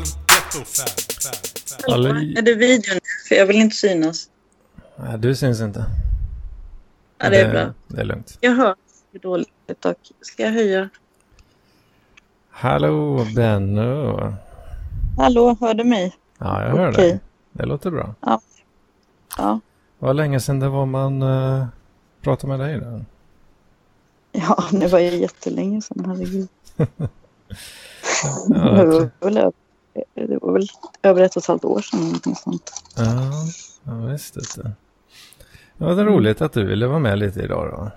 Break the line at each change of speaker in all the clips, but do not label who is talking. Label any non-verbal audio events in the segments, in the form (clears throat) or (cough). stor fan. fan, fan.
Alla-
Är det videon? För jag vill inte synas.
Nej, du syns inte.
Ja, det är bra.
Det är lugnt.
Jag hör hur dåligt och ska jag höja?
Hallå, Benno.
Hallå, hör du mig?
Ja, jag hör
Okej.
dig. Det låter bra.
Ja.
Vad länge sedan det var man eh, pratade med dig då.
Ja, det var ju jättelänge sedan, herregud.
Ja,
(laughs) det,
det,
var väl, ö- det var väl över ett och ett halvt år sedan. eller någonting sånt.
ja, ja, visst. Det. det var roligt att du ville vara med lite idag då.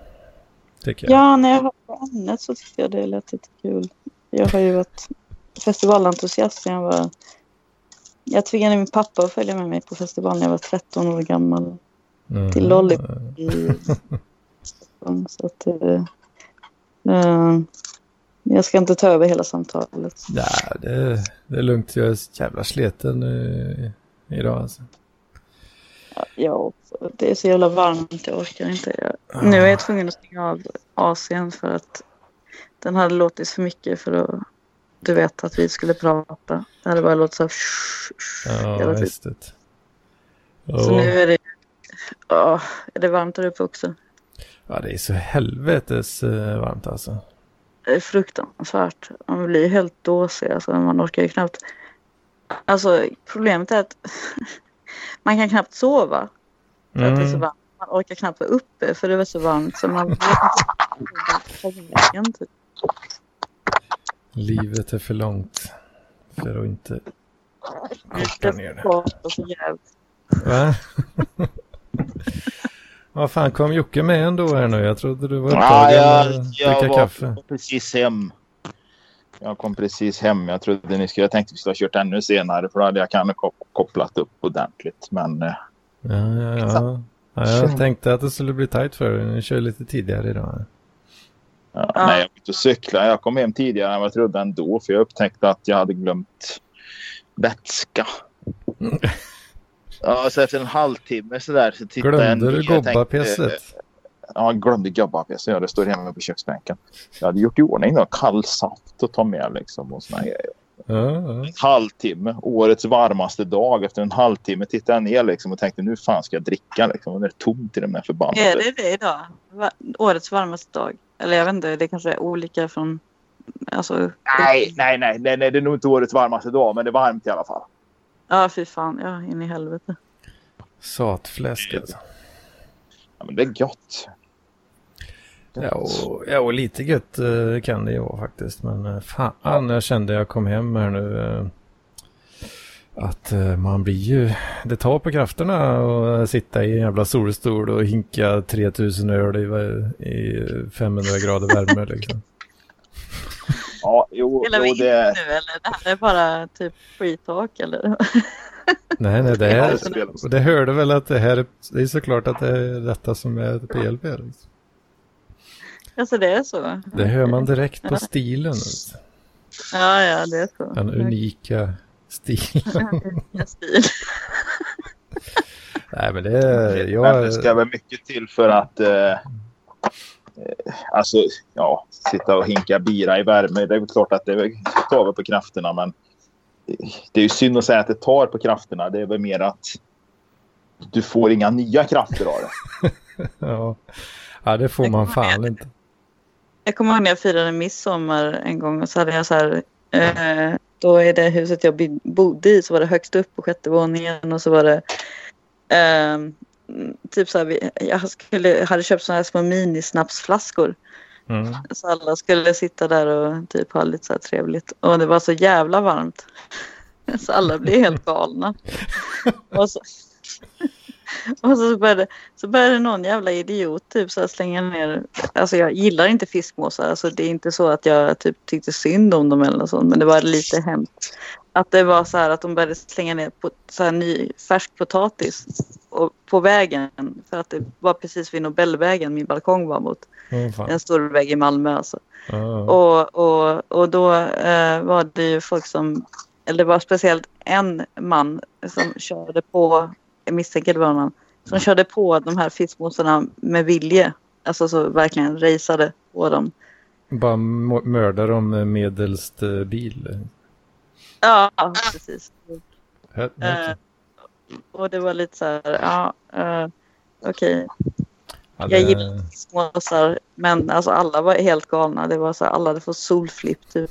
Tycker jag.
Ja, när jag hörde ämnet så tyckte jag det lät lite kul. Jag har ju varit festivalentusiast sedan jag var... Jag tvingade min pappa att följa med mig på festivalen när jag var 13 år gammal
Mm.
till Lollip i Stockholm. Så att, eh, eh, jag ska inte ta över hela samtalet.
Nej, det, det är lugnt. Jag är så jävla sliten eh, idag alltså.
Ja, också. det är så jävla varmt. Jag orkar inte. Jag, nu är jag tvungen att stänga av AC'n för att den hade låtit för mycket för att du vet att vi skulle prata. Det hade bara låtit så här.
Ja,
hela tiden.
visst. Det.
Så
Ja.
nu är det, ja, är det varmt där uppe också.
Ja, det är så helvetes eh, varmt alltså.
Det är fruktansvärt. Man blir helt dåsig. Alltså, man orkar ju knappt. Alltså problemet är att (laughs) man kan knappt sova för att
Mm.
det är så varmt. Man orkar knappt vara uppe för det var så varmt så man vet inte.
Livet är för långt för att inte korta ner det. Va? Vad fan, kom Jocke med ändå här nu? Jag trodde du var
Ja, jag,
upptagen med att
jag
dricka
var
kaffe.
precis hem. Jag kom precis hem. Jag trodde ni skulle... Jag tänkte att vi skulle ha kört ännu senare för då hade jag kanske kop- kopplat upp ordentligt. Men eh,
Ja, ja, ja. ja jag tänkte att det skulle bli tajt för dig. Ni kör lite tidigare idag.
ja,
Ja.
nej, jag var ute och cyklade. Jag kom hem tidigare än vad jag trodde ändå för jag upptäckte att jag hade glömt vätska. Ja, så efter en halvtimme så där så tittade jag
Glömde
ner.
du
Jag tänkte, eh,
gobbapesset?
Ja, jag glömde gubbapessen. Ja, det står hemma på köksbänken. Jag hade gjort i ordning då, kall saft att ta med liksom och såna grejer.
Ja, ja.
halvtimme, årets varmaste dag. Efter en halvtimme tittade jag ner liksom och tänkte nu fan ska jag dricka liksom. Och det är tomt i den där förbannade.
Är det det idag? Va- årets varmaste dag? Eller jag vet inte, det kanske är olika från... Alltså,
Nej, nej, nej, nej, nej, det är nog inte årets varmaste dag, men det är varmt i alla fall.
Ja, fy fan. Ja, in i helvete.
Satfläsk alltså.
Ja, men det är gott.
Ja och, ja, och lite gött eh, kan det ju vara faktiskt. Men eh, fan, jag kände jag kom hem här nu. eh, Att eh, man blir ju... Det tar på krafterna att eh, sitta i en jävla solstol och hinka 3000 öl i, i 500 grader värme liksom.
Ja, jo,
Spelar vi
jo
in
det
nu
är...
eller? Det här är bara typ free talk eller? (laughs)
Nej, nej, det
Ja,
är...
det spelas.
Och det hörde väl att det här... är- Det är såklart att det är detta som är PLP. Liksom.
Alltså det är så?
Det hör man direkt på stilen. alltså.
Ja, ja, det är så.
Den unika stilen.
Vilken stil.
Nej, men det är...
Men det
Eh, Jag,
ska väl mycket till för att... Eh, eh, alltså, ja, sitta och hinka bira i värme. Det är väl klart att det är väl- tar väl på krafterna, men... Det är ju synd att säga att det tar på krafterna. Det är väl mer att... Du får inga nya krafter av det.
Ja. ja, det får
Det
man
kommer
fan inte.
Jag kommer ihåg när jag firade midsommar en gång och så hade jag så här, eh, då i det huset jag by- bodde i så var det högst upp på sjätte våningen och så var det ehm, typ så här, vi- jag skulle, hade köpt såna här små minisnapsflaskor
Mm.
så alla skulle sitta där och typ ha lite så här trevligt och det var så jävla varmt så alla blev helt galna. Och så, och så, började, så började någon jävla idiot typ så här slänga ner. Alltså jag gillar inte fiskmåsar. Alltså det är inte så att jag typ tyckte synd om dem eller något sånt. Men det var lite hemskt. Att det var så här att de började slänga ner på, så här ny färsk potatis och, på vägen. För att det var precis vid Nobelvägen min balkong var mot.
Åh, fan.
En stor väg i Malmö alltså.
Ja.
Och, och, och då eh, var det ju folk som, eller det var speciellt en man som körde på, jag misstänker det var honom, som körde på de här fiskmåsarna med vilje. Alltså så verkligen raceade på dem.
Bara mo- mörda dem medelst eh, bil.
Ja, precis.
Här,
Eh, och det var lite så här, ja, eh, okej.
Ja,
Jag
det-
gillar småsar, men alltså alla var helt galna. Det var så här, alla hade fått solflipp typ.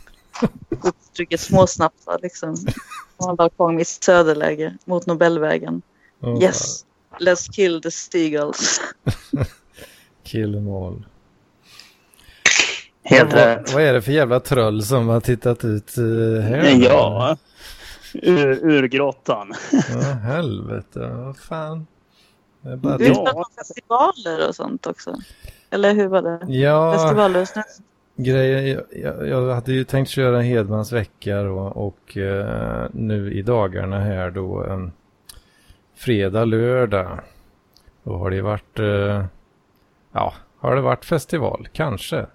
Uttrycket småsnapsar liksom. På en balkong i söderläge mot Nobelvägen.
ja,
Yes, let's kill the seagulls.
Kill them all.
Helt rätt.
Vad, vad är det för jävla tröll som har tittat ut eh, här?
Ja. Ur, ur grottan.
Ja, helvete. Vad fan. Det är bara
Du
det.
Ja.
ja. festivaler och sånt också. Eller hur var det?
Ja,
Festivaler och snö.
grejen. Jag, jag hade ju tänkt köra Hedmans vecka då, och eh, nu i dagarna här då en fredag, lördag. Då har det varit, eh, ja, har det varit festival, kanske. Eh,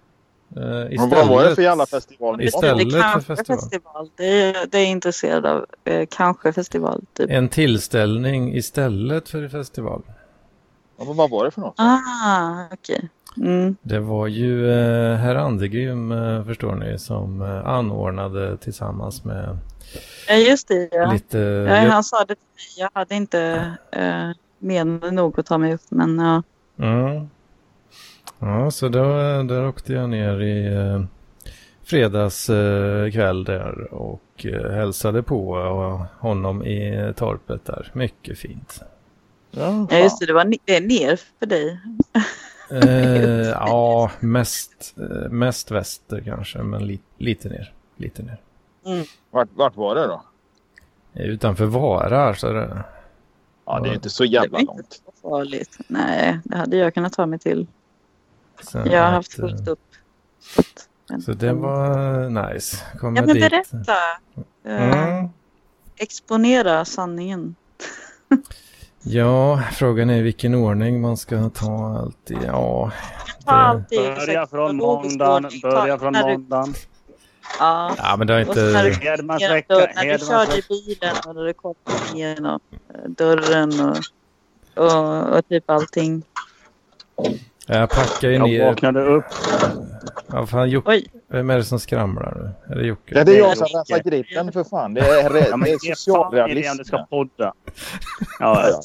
Men vad var det för
istället-
jävla festival ni var på?
Istället
det är kanske
för festival.
Det är, det är jag intresserad av. Eh, kanske festival typ.
En tillställning istället för festival.
Ja, men Vad var det för något?
Ah, okej. Mm.
Det var ju eh, herr Andergrym, eh, förstår ni, som eh, anordnade tillsammans med
Ja, just det. Ja.
lite...
Ja, Eh, han sa det till mig. Jag hade inte eh, menat nog att ta mig upp, men ja.
Mm. Ja, så då, där åkte jag ner i eh, fredags eh, kväll där och eh, hälsade på eh, honom i torpet där. Mycket fint.
Ja,
ja just det. Det, var ne- det är ner för dig. (laughs)
Eh, ja, mest, eh, mest väster kanske, men li, lite ner. Lite ner.
Vart, vart var det då?
Eh, Utanför Vara, så är det.
Ja, det är ju inte så
Det
jävla
var inte
långt.
så farligt. Nej, det hade jag kunnat ta mig till.
Så
Jag har haft
att, eh,
fullt upp.
Så det var eh, nice. Kommer
Ja, men
dit.
berätta. Eh,
Mm.
Exponera sanningen.
Ja, frågan är vilken ordning man ska ta allt i. Ja,
Ta allt i
Börja
exakt
från
kronologisk
måndagen,
ordning. Ta-
börja från
när du-
måndagen.
Ja.
ja men det har
Och så när du
inte...
kom
Hedmans
igenom
vecka,
dörren, När du
Hedmans
körde i
vecka.
bilen och när du kom igenom eh, dörren och, och, och typ allting.
Jag packar ju
Jag
ner...
vaknade upp.
Ja, fan, Jocke,
Oj,
vem är det som skramlar nu? Är det Jocke?
Ja, det är jag som
Jocke.
rensar gripen för fan. Det är, det
Ja, men
är
ge fan i det om
socialrealism.
du ska podda. Ja, ja.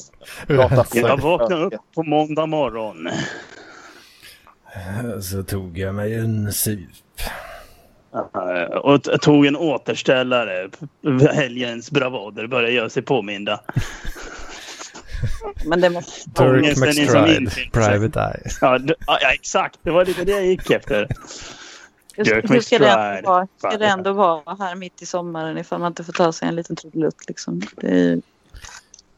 (laughs)
Prata
jag
skit.
vaknade upp på måndag morgon.
Så tog jag mig en sup.
Eh, Och t- tog en återställare. Helgens bravader började göra sig påminda.
men det måste...
Turk
Ångesten är som
McStride,
infinner sig.
Private Eye.
Ja, d- ja, ja, exakt. Det var lite det jag gick efter. Dirk
Hur ska det
McBride.
ändå vara, ska
liksom.
det ändå vara här mitt i sommaren ifall man inte får ta sig en liten trudelutt liksom. Det är ju...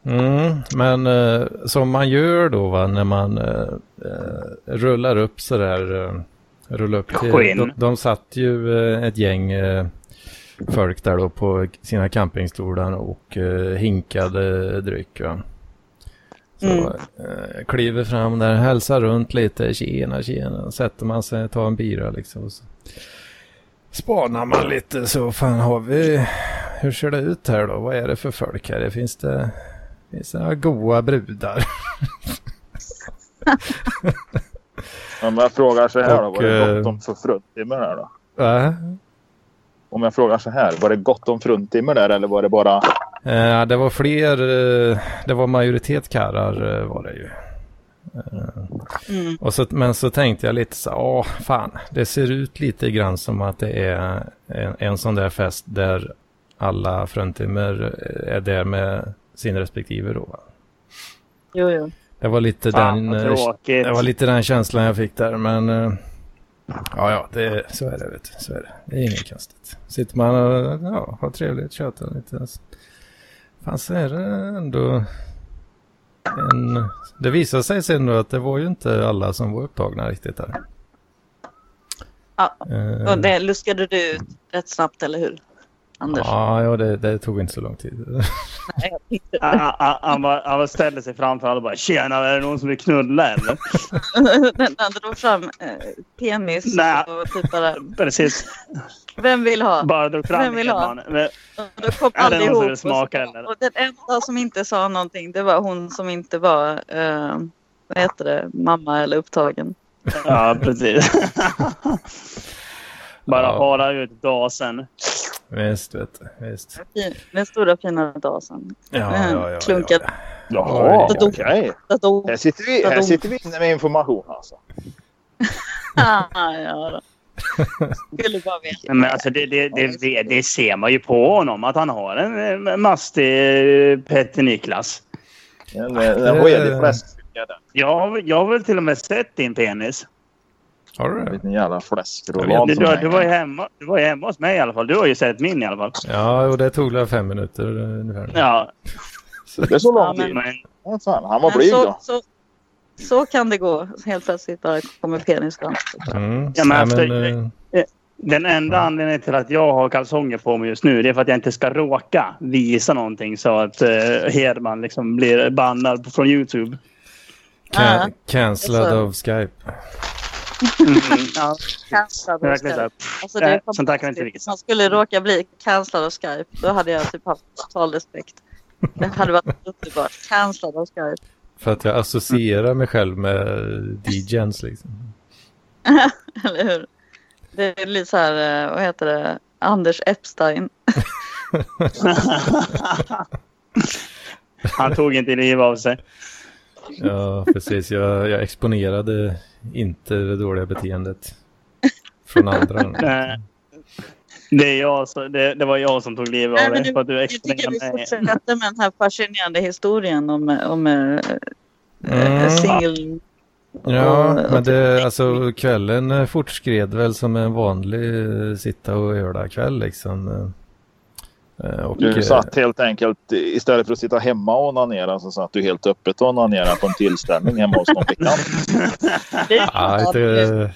Mm, men eh, som man gör då va, när man eh, eh, rullar upp sådär. Eh, rullar upp till,
Skinn.
de, de satt ju eh, ett gäng eh, folk där då på sina campingstolar och eh, hinkade dryck. Va? Så
Mm.
eh, kliver fram där, hälsar runt lite, tjena tjena. Sätter man sig, tar en bira liksom. Och så. Spanar man lite så fan har vi, hur ser det ut här då? Vad är det för folk här? Finns det, finns det några goa brudar?
Om jag frågar så här då, var
Och,
det
eh,
gott om för fruntimmer där då?
Va?
Om jag frågar så här, var det gott om fruntimmer där eller var det bara...
Eh, det var fler, eh, det var majoritet karlar eh, var det ju. Eh,
Mm.
Och så, men så tänkte jag lite så ja fan, det ser ut lite grann som att det är en, en sån där fest där alla fruntimmer eh, är där med sin respektive då. va.
Jo, jo.
Det var lite
Fan,
den
vad
eh,
tråkigt.
Det var lite den känslan jag fick där, men... eh, Ja, ja, det, så är det, vet du. Så är det. Det är inget konstigt. Sitter man och ja, har trevligt, tjötar lite. Fan, så är det ändå... En... Det visade sig sen då att det var ju inte alla som var upptagna riktigt där.
Ja,
Eh,
Och det luskade du ut rätt snabbt, eller hur? Anders? (laughs)
Ja, ja det, det tog inte så lång tid. (laughs)
Nej, jag tänkte-
Ah, ah, ah, Han, bara, han bara ställde sig framför alla och bara “Tjena, är det någon som vill knulla eller?”
När han drog fram eh, penis
Nej.
och typ bara,
Precis.
vem vill ha?
Bara drog fram
Vem vill ha?
den. Men-
Och Då kom
Är det någon som
allihop
vill
och
smaka
sa-
eller?
Och den enda som inte sa någonting det var hon som inte var, eh, vad heter det, mamma eller upptagen.
(laughs) Ja, precis. Bara
Ja.
hala ut gasen.
Visst, vet du. Visst.
Fin- Den stora fina dasen.
Ja, ja, ja.
Klunkat.
Ja,
Jaha,
Ja, det
okej.
är det.
Så då-
Här sitter vi, här sitter vi inne med information alltså.
Ah, (laughs) ja, då. Skulle bara veta.
Men alltså det, det, det, det, det ser man ju på honom att han har en eh, mastig eh, Petter Niklas.
En, en, en
det-
redig fläskficka där.
Jag, har- jag har väl till och med sett din penis.
ja. Har du
En
det?
liten jävla
Jag
Du,
fläskrullan.
vet
som
du, har- du, var ju
hänger.
hemma, du var ju hemma hos mig i alla fall. Du har ju sett min i alla fall.
Ja, och det tog väl fem minuter eh, ungefär.
Ja,
Det är så
Ja,
lång
men- Alltså-
tid.
men
Åh, fan, Han var
Men
blyg
så,
då.
så, så kan det gå. Helt plötsligt bara kommer penis fram.
Mm.
Ja, men
Nej,
alltså,
eh,
den enda anledningen till att jag har kalsonger på mig just nu det är för att jag inte ska råka visa någonting så att eh, Hedman liksom blir bannad från Youtube.
Can-
Ah.
Cancellad
Alltså.
av Skype.
Mm, ja,
Kanslad av
verkligen så här.
Skype. Alltså, det är
Nej, sånt där kan
fantastiskt.
vi inte visa.
Man skulle råka bli kanslad av Skype. Då hade jag typ haft total respekt. Det hade varit (laughs) underbart. Kanslad av Skype. (laughs)
För att jag associerar mig själv med DJs liksom.
Eller hur? Det är lite så här, eh, vad heter det? Anders Epstein.
(laughs) Han tog inte liv av sig.
Ja, precis. Jag, jag exponerade inte det dåliga beteendet från andra.
Eh, Det, är jag, så, det, det var jag som tog livet
Nej,
av
men
dig för att du
Jag tycker vi
exponerade mig.
fortsätter med den här fascinerande historien om, om eh,
Mm.
singel...
Ja,
Och-
men det, alltså kvällen eh, fortskred väl som en vanlig eh, sitta och öla kväll liksom. Eh, eh, Och,
Du
eh,
satt helt enkelt, istället för att sitta hemma och onanera så satt du helt öppet och onanerade på en tillställning hemma hos någon bekant.
Ja, inte,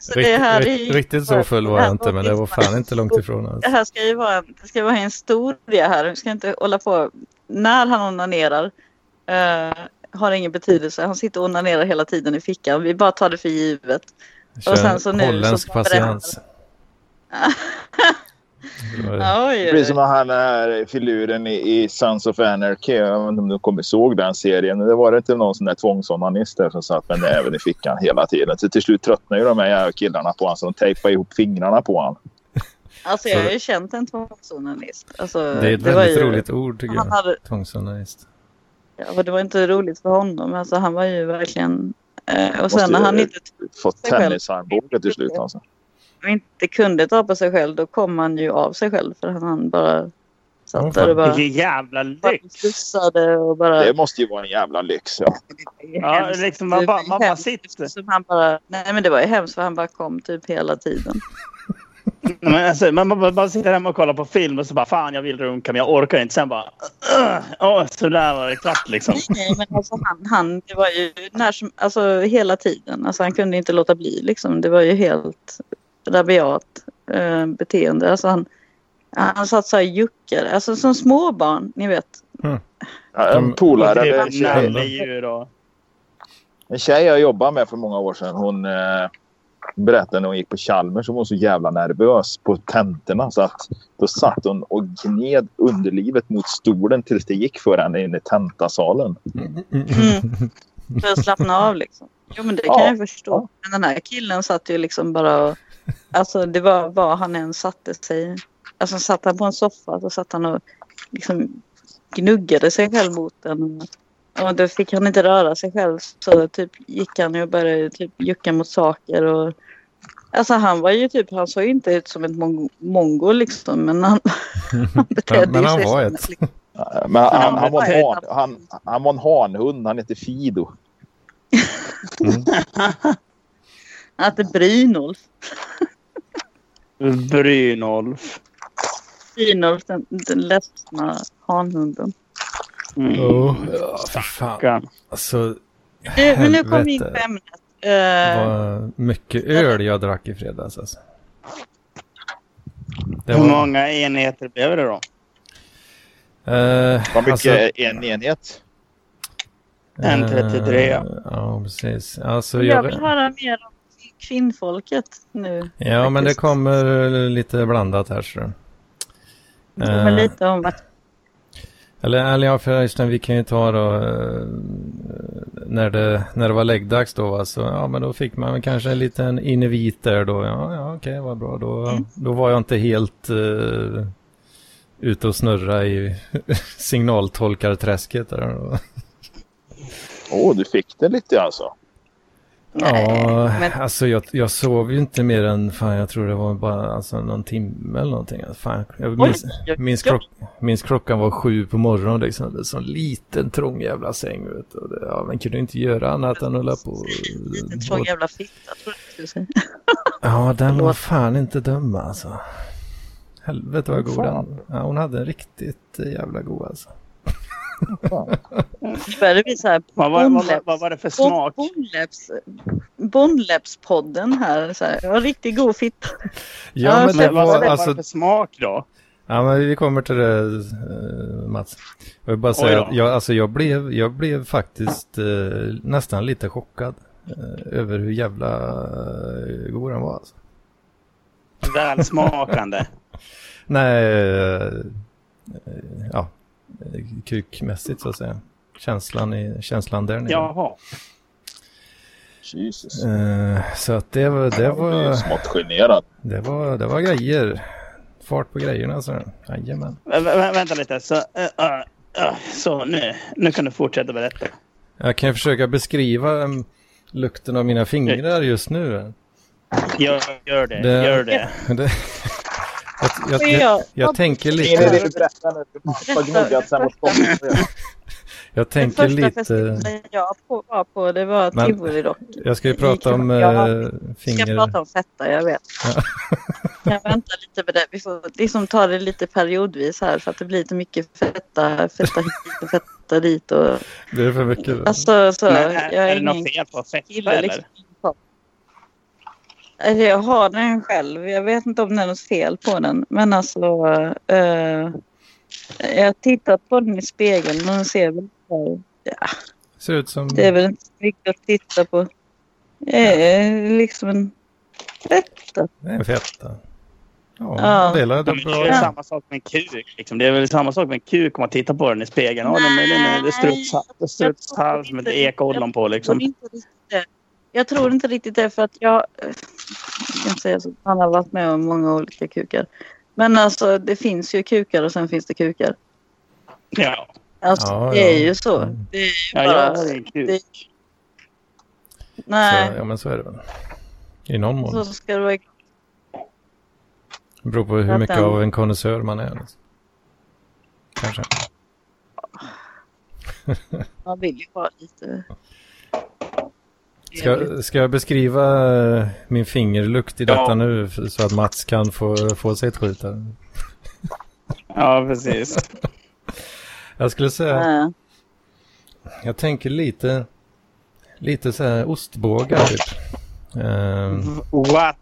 Så det
riktigt,
här är ju-
riktigt, riktigt så full var jag inte, men det var fan inte långt ifrån.
Det
Alltså.
här ska ju vara en, det ska vara en historia här. Vi ska inte hålla på. När han onanerar eh, har ingen betydelse. Han sitter och onanerar hela tiden i fickan. Vi bara tar det för givet.
Kör
sen
en
så nu så
holländsk
bara berättar-
patiens. Det var-
Oj,
Det blir som den här, den här filuren i, i Sons of Anarchy. Jag vet inte om du kommer ihåg den serien. Det var det inte någon sån där tvångsonanist där som satt med näven i fickan hela tiden. Så till slut tröttnade ju de här jävla killarna på honom så de tejpade ihop fingrarna på honom.
alltså jag har ju känt en tvångsonanist. Alltså,
Det är ett
var
väldigt
ju,
roligt ord tycker
Han
jag.
hade,
Tvångsonanist.
ja, och det var inte roligt för honom. Alltså, han var ju verkligen... Eh, och sen
Måste-
när han inte,
Fått tennisarmbåge till slut alltså.
inte kunde ta på sig själv då kom han ju av sig själv. För han, han bara satt
Åh,
där och
fan.
bara...
Vilken jävla
bara
lyx!
Sussade och bara...
Det måste ju vara en jävla lyx. Ja.
Ja, liksom man bara, man bara sitter.
Som han bara, nej men det var ju hemskt för han bara kom typ hela tiden.
Men alltså, man, man, man sitter hemma och kollar på film och så bara fan jag vill runka men jag orkar inte. Sen bara åh så där var det klart liksom.
Nej, nej men alltså han, han det var ju när som, alltså hela tiden. Alltså han kunde inte låta bli liksom. Det var ju helt rabiat eh, beteende. Alltså han, han satt så här och juckade. Alltså som småbarn, ni vet.
En polare, en tjej,
Nalledjur Typ och...
En tjej jag jobbade med för många år sedan. Hon eh, berättade när hon gick på Chalmers. Hon var så jävla nervös på tentorna. Så att då satt hon och gned underlivet mot stolen tills det gick för henne in i tentasalen.
Mm. För att slappna av liksom. Jo men det kan
Ja.
jag förstå. Men den här killen satt ju liksom bara och, Alltså det var vad han än satte sig i. Alltså satt han på en soffa så satt han och liksom gnuggade sig själv mot den. Och då fick han inte röra sig själv så typ gick han och började typ jucka mot saker och Alltså han var ju typ, han såg ju inte ut som ett mong- mongo liksom men han, (laughs) han betedde
men han
sig
var
som
ett.
liksom-
Eh, Men han, han, var, en
Ja.
han, han, han var en hanhund. Han hette Fido.
Att det Brynolf.
Brynolf.
Brynolf den, den ledsna hanhunden.
Mm.
Åh, ja, för fan.
Kan.
Alltså,
Du, Eh, men nu kom vi in på
Helvete.
ämnet. Eh,
vad mycket öl jag drack i fredags alltså. Det
Hur
var,
många enheter blev det då?
eh,
Vad mycket
alltså,
en enhet.
En
eh,
33.
Ja, precis. Alltså,
jag
jag,
vill höra mer om kvinnfolket nu.
ja, men det
faktiskt.
kommer lite blandat här. Så.
Det var lite om att
Eller, eller ja, förresten, vi kan ju ta då eh, när det, när det var läggdags då, alltså, ja men då fick man väl kanske en liten invit där då. Ja, ja okej, vad bra.
Mm.
Då, då var jag inte helt uh, ute och snurra i (laughs) signaltolkarträsket där då.
Åh, oh, du fick det lite alltså.
Ja,
men-
alltså jag, jag sov ju inte mer än, fan jag tror det var bara alltså, någon timme eller någonting. Alltså, Fan, jag minns,
oj,
minns,
oj.
klock, minns klockan var sju på morgonen liksom. Det var en sån liten trång jävla säng. Vet, du. och det, ja, man kunde inte göra annat än hålla på.
En trång jävla fitta tror jag du skulle säga. (laughs)
Ja, den var fan inte dum alltså. Helvete vad god
Fan.
den ja, Hon hade en riktigt eh, jävla god alltså.
Började vi så här
Vad var, vad, var- vad var det för smak?
Bonläpps, Bonläppspodden här. Så här. Det var riktigt god fitta.
Ja,
Ja,
men
så-
det
Vad var
var
det
alltså
för smak då?
Ja, men vi kommer till det eh, Mats. Jag vill bara
Oj
säga
då.
att jag, alltså, jag, blev, jag blev faktiskt eh, nästan lite chockad eh, över hur jävla eh, god den var. Alltså. (laughs)
Välsmakande.
Nej, eh, eh, ja, eh, kukmässigt så att säga. Känslan, i, känslan där nere.
Jaha.
Jesus.
Eh, så att det var, det
Jag blir
var,
smått generad.
det var, det var grejer. Fart på grejerna så. Jajamän.
Vä- vä- vänta lite. Så, eh, eh, eh, så nu, nu kan du fortsätta berätta.
Jag kan ju försöka beskriva mm, lukten av mina fingrar just nu.
Gör, gör det,
Det-
Eh. Gör det.
(laughs) Det, jag, jag, jag,
Ja.
jag tänker
Ingrid,
lite,
vill du berätta nu? Du har gnuggat sen mot gången.
Den
jag tänker
första
lite,
festen jag på, var på det var
Men-
tivoli dock.
jag ska ju prata om
Jag har-
eh,
Vi ska
finger.
prata om fetta, jag vet.
Ja.
(laughs) Jag väntar lite med det. Vi får liksom ta det lite periodvis här för att det blir lite mycket fetta, fetta hit och fetta dit. Och,
Det är för mycket.
alltså, så,
Men
jag
är, är
är
det
ingen
något fel på fetta
kille
eller?
liksom. Alltså, Jag har den själv. Jag vet inte om det är något fel på den. Men alltså. eh, jag har tittat på den i spegeln och den ser väl
Ser ut som,
Det är väl inte så mycket att titta på. Det är liksom en fetta.
det är en fetta. Ja,
Ja.
det är
Ja,
väl
men Det är
bra.
samma sak med en kuk. Liksom. Det är väl samma sak med en kuk om man tittar på den i spegeln. Ja, det är en strutshals, strutshals med ett ekollon på.
Jag tror
Liksom.
inte riktigt det. Jag tror inte riktigt det för att jag... eh, Jag kan inte säga så. Han har varit med om många olika kukar. Men alltså det finns ju kukar och sen finns det kukar.
Ja,
Alltså
Ja,
det är
ja.
ju så.
Mm.
Det är ju
ja
bara...
jag har en kuk.
Nej,
Så, ja, men så är det väl. I någon
så
mån.
ska det vara.
Det beror på hur
Att
mycket
den-
av en konnässör man är. Liksom. Kanske.
Man vill ju ha lite...
Ska, ska jag beskriva eh, min fingerlukt i detta nu f- så att Mats kan få, få sig ett skit här?
Ja, precis.
Jag skulle säga...
Nej.
Jag tänker lite, lite så här ostbågar typ. Ehm,
Mhm.
What?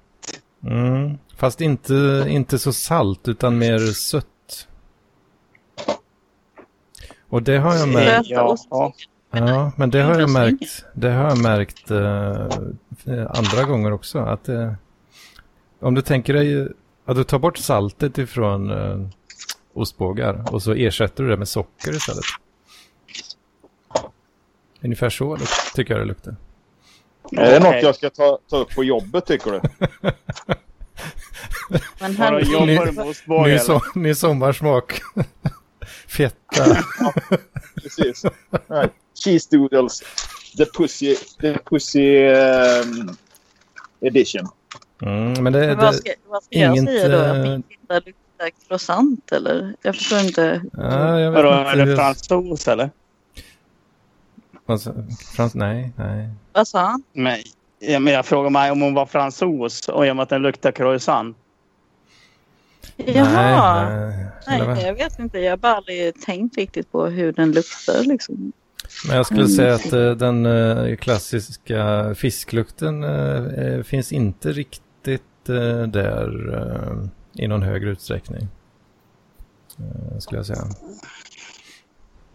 mm, fast inte, inte så salt utan mer sött. Och det har jag märkt.
Söta
Ja,
ostbågar.
Ja, men det har jag
Intressant.
märkt. Det har jag märkt eh, andra gånger också. Att, eh, om du tänker dig att du tar bort saltet ifrån eh, ostbågar och så ersätter du det med socker istället. Ungefär så luk- tycker jag det luktar.
Är det något
Okej.
jag ska ta, ta upp på jobbet tycker du?
Men
Har du
här,
Ny-
jobbar du med ostbågar?
Ny,
eller?
so (laughs) ny sommarsmak. (laughs)
(laughs)
Feta.
Precis. Nej. Cheese doodles. The pussy, the pussy ehm, edition.
Mm, men det,
vad
det,
ska, vad ska jag
inget,
säga då? Att
eh,
min fitta luktar croissant eller? Jag förstår inte.
ja, jag vet
Vadå,
inte
är
hur
det
jag-
fransos eller?
Alltså, frans, nej, nej.
Vad sa han?
Nej. Ja, men jag frågar mig om hon var fransos och i och med att den luktar croissant.
Jaha.
Nej, nej.
Nej,
Eller vad?
jag vet inte. Jag har bara aldrig tänkt riktigt på hur den luktar liksom.
Men jag skulle säga att eh, den eh, klassiska fisklukten eh, eh, finns inte riktigt eh, där eh, i någon högre utsträckning. Eh, skulle jag säga.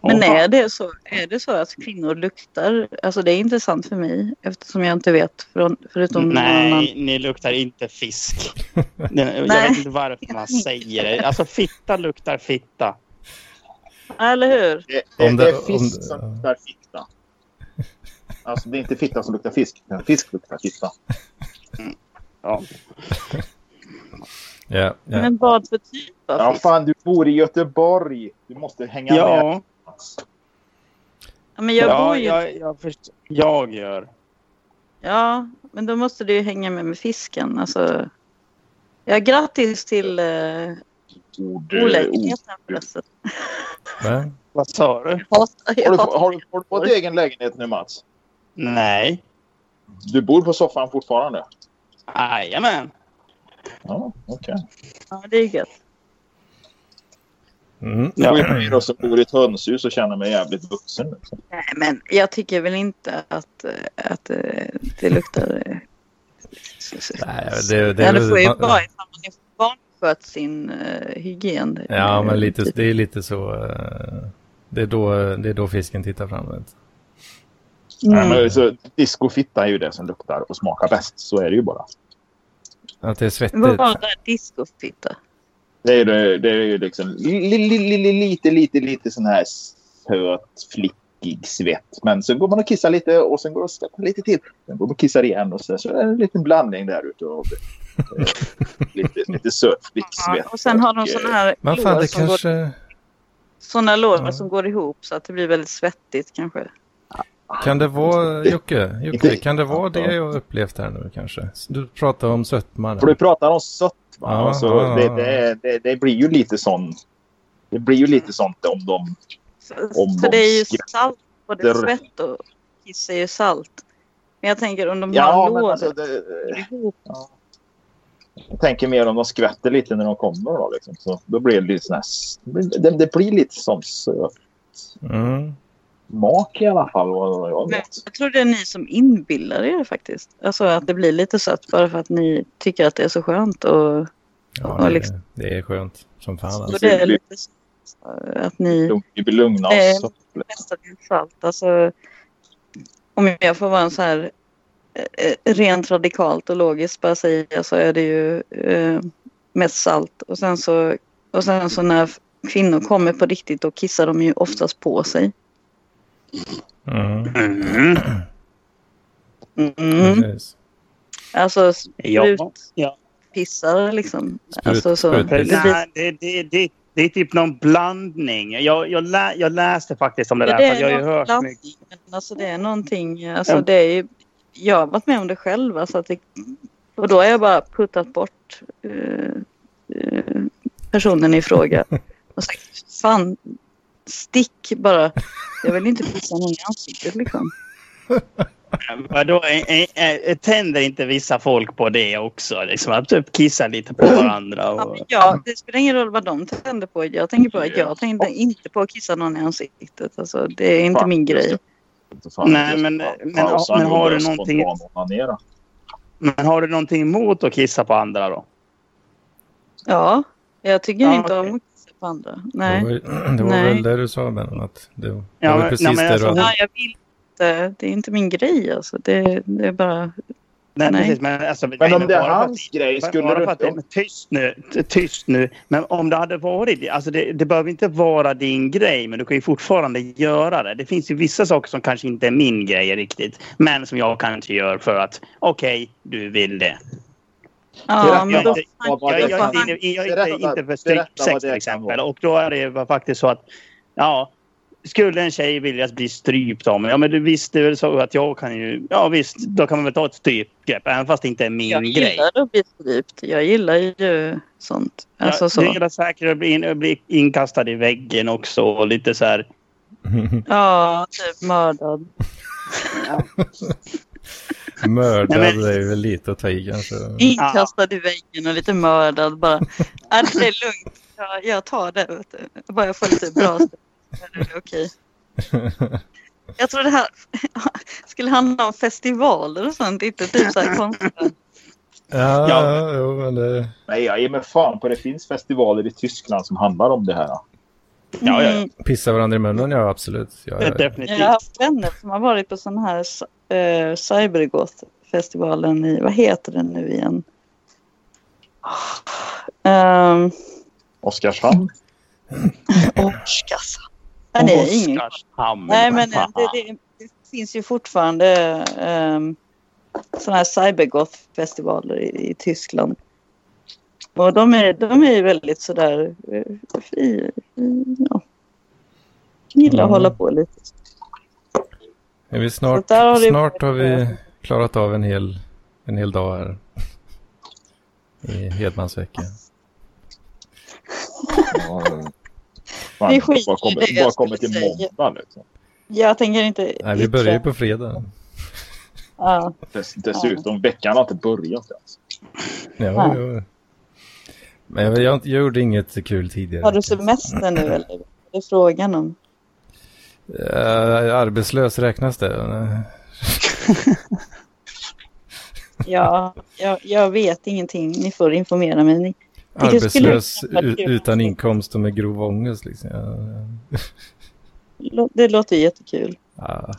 Åh,
Men alltså,
fan.
är det, så, är det så att kvinnor luktar? Alltså det är intressant för mig eftersom jag inte vet från, förutom någon annan.
Nej, ni luktar inte fisk. Den, jag
Nej.
vet inte varför man säger det. Alltså fitta luktar fitta.
Eller hur?
Det, det,
Om
det,
det-
är fisk
om det-
som
ja.
luktar fitta. Alltså det är inte fitta som luktar fisk, utan fisk luktar fitta.
Ja.
Ja, ja.
Men vad för typ av
Ja,
fisk?
fan du bor i Göteborg. Du måste hänga med.
Ja,
Ja, men jag
ja
bor ju...
jag, jag, först- jag gör.
Ja, men då måste du ju hänga med med fisken. Alltså... Ja, grattis till eh,
Ord, eh, ord.
olägenheten förresten.
Men,
Vad sa du?
Jag hatar-
Har
jag
du,
hatar-
har, du- har du fått egen lägenhet nu Mats?
Nej.
Du bor på soffan fortfarande?
Jajamän.
Ja, okej.
Ja, det är gött.
mm.
Jag
Ja.
bor i en som bor i ett hönshus och känner mig jävligt vuxen. nu.
Nej, men jag tycker väl inte att, eh, att eh, det luktar... eh,
Nej, det, det
ja,
är
det får ju
väl...
vara ifall man är vanskött sin eh, hygien.
Ja, men lite,
Typ.
det är lite så. eh, Det är då, det är då fisken tittar fram. vet du.
Nej,
Mm.
men så, discofitta är ju det som luktar och smakar bäst. Så är det ju bara.
Att det är
Vad
svettigt.
var det? Discofitta?
Det är, det, det är ju liksom li, li, li, li, lite, lite, lite sån här söt, flickig svett. Men sen går man och kissar lite och sen går man och svettar lite till. Sen går man och kissar igen och sen så är det en liten blandning där ute. av, eh, lite, lite söt
Ja,
flicksvett.
och sen har de
och, eh,
såna här
Men fan,
lår
det
som går,
kanske...
såna lår
Ja.
som går ihop så att det blir väldigt svettigt kanske.
Kan det vara, Jocke, Jocke
Inte-
kan det vara det jag har upplevt här nu kanske? Du pratar om sötma.
För
där.
du pratar om sött. Va?
Ja,
alltså,
ja,
det,
ja.
det, det, det blir ju lite sån... Det blir ju lite sånt om de...
Så,
Om
för det
de
är ju
skvätter.
salt, både svett och kiss är ju salt. Men jag tänker om de har
Ja, men
lår
alltså... Det,
som går ihop.
jag tänker mer om de skvätter lite när de kommer. Då, liksom. så, då blir det lite sån här... Det, det blir lite som söt
Mm.
mak i alla fall, vad vad jag
Men
vet.
jag tror det är ni som inbillar er faktiskt. Alltså att det blir lite sött bara för att ni tycker att det är så skönt och,
Ja,
Ja,
det,
liksom.
det är skönt som fan.
och
Alltså.
det är lite så att ni
Vi vill lugna
Eh,
oss. Så,
mestadels salt. Alltså, om jag får vara en så här eh, eh, rent radikalt och logiskt bara säga så är det ju eh, mest salt. Och sen, så, och sen så när kvinnor kommer på riktigt då kissar de ju oftast på sig.
Mm.
Mm.
Mm.
Precis.
Alltså
Ja. ja.
sprutpissar liksom.
Sprut-
Alltså, så, det
sprutpiss.
blir,
Nej, det, det, det, det är typ någon blandning. Jag, jag, lä, jag läste faktiskt om det
Ja,
där.
det
för att jag har ju
någon
hört
blandning,
mycket.
men alltså det är någonting, alltså
Ja.
det är ju, jag har varit med om det själv. Alltså att det, och då har jag bara puttat bort eh, eh, personen i fråga. Och sagt, fan, stick bara. Jag vill inte pissa någon i ansiktet liksom.
Vadå, ä- ä- ä- eh, tänder inte vissa folk på det också? Liksom, att typ kissa lite på varandra.
Ja,
Och...
men jag, det spelar ingen roll vad de tänder på. Jag tänker på att jag tänkte inte på att kissa någon i ansiktet. Alltså, det är inte
Fan,
min grej.
inte fan,
Nej,
just
men-
fan,
men-
fan, och sen
men har
går
du
det
någonting-
spontan onanera.
Men har du någonting emot att kissa på andra då?
Ja, jag tycker
Ja,
inte
okej.
om att kissa på andra.
Det
Nej.
var, väl- (clears throat) det var
Nej.
väl det du sa, Bennon. Att det var
Ja,
väl
men-
precis
nej, men
det
alltså,
du hade.
Ja, jag vill inte. Det är inte min grej alltså. Det, det är bara...
Nej,
Nej.
precis. Men, alltså,
Men
nej,
om det är
bara för att-
hans grej,
bara
skulle
för
du
att det,
inte...
men tyst nu, t- tyst nu. Men om det hade varit... Alltså det, det behöver inte vara din grej, men du kan ju fortfarande göra det. Det finns ju vissa saker som kanske inte är min grej riktigt, men som jag kanske gör för att okej, du vill det.
Ja,
Berätta
men då...
vad-
fan,
vad
Jag,
det
jag, är
kan-
inte inne- jag, är inte
berätta-
inte för
berätta vad
strypsex
det
till
kan
exempel.
vara.
Och då är det ju faktiskt så att... Ja, skulle en tjej vilja bli strypt av mig, ja men du visst, det är väl så att jag kan ju... Ja visst, då kan man väl ta ett strypgrepp, även fast det inte är min
Jag
grej.
gillar att bli strypt. Jag gillar ju sånt. Alltså
ja,
så.
Du gillar säkert att bli, in, att bli inkastad i väggen också och lite så här...
(laughs)
Ja, typ mördad.
Mm.
Mördad
Nej, men-
är ju väl lite att ta i kanske.
Inkastad i väggen och lite mördad
(laughs)
bara. Ja, det är lugnt. Jag, jag tar det. Vet du. Bara jag får lite bra stöd. Det är okej.
(laughs)
Jag tror det här (laughs) skulle handla om festivaler och sånt. Inte typ så här konstigt.
Ja,
Ja.
Jo, men det...
Nej, jag ger mig fan på det. finns festivaler i Tyskland som handlar om det här.
Ja, ja, ja.
Mm.
Pissa varandra i munnen, ja absolut. Ja, ja, ja.
Definitivt.
Jag har haft vänner som har varit på sån här uh, Cybergoth-festivalen i, vad heter den nu igen? Ehm,
Oskarshamn.
(laughs) Oskarshamn. Men det är alltså. ingen...
Oskarshamn.
Nej,
vad
men eh, det,
fan.
det, det finns ju fortfarande um, sådana här cybergoth-festivaler i, i Tyskland. Och de är, de är ju väldigt sådär... eh, fri- Ja. Gillar att
Mm.
hålla på lite.
Är vi snart,
Så där har det-
snart har vi klarat av en hel, en hel dag här. (laughs) I Hedmansveckan.
Ja, Fan,
Vi skiter
bara
i det
kommer,
jag
bara kommer
skulle
till
säga.
måndag. Liksom.
Jag tänker inte...
Nej, vi börjar ju
yttra-
på fredag.
Ja.
Dess, dessutom, veckan har inte börjat ens.
Ja, ja. Men jag, jag, jag gjorde inget kul tidigare.
Har du semester nu eller? Vad är det frågan om?
Eh, arbetslös räknas det? Nej.
Ja, jag, jag vet ingenting. Ni får informera mig. Ni- Tycker jag skulle
Arbetslös
kunna vara
u-
kul.
utan inkomst och med grov ångest liksom. Ja,
lå- Det låter jättekul.
ja.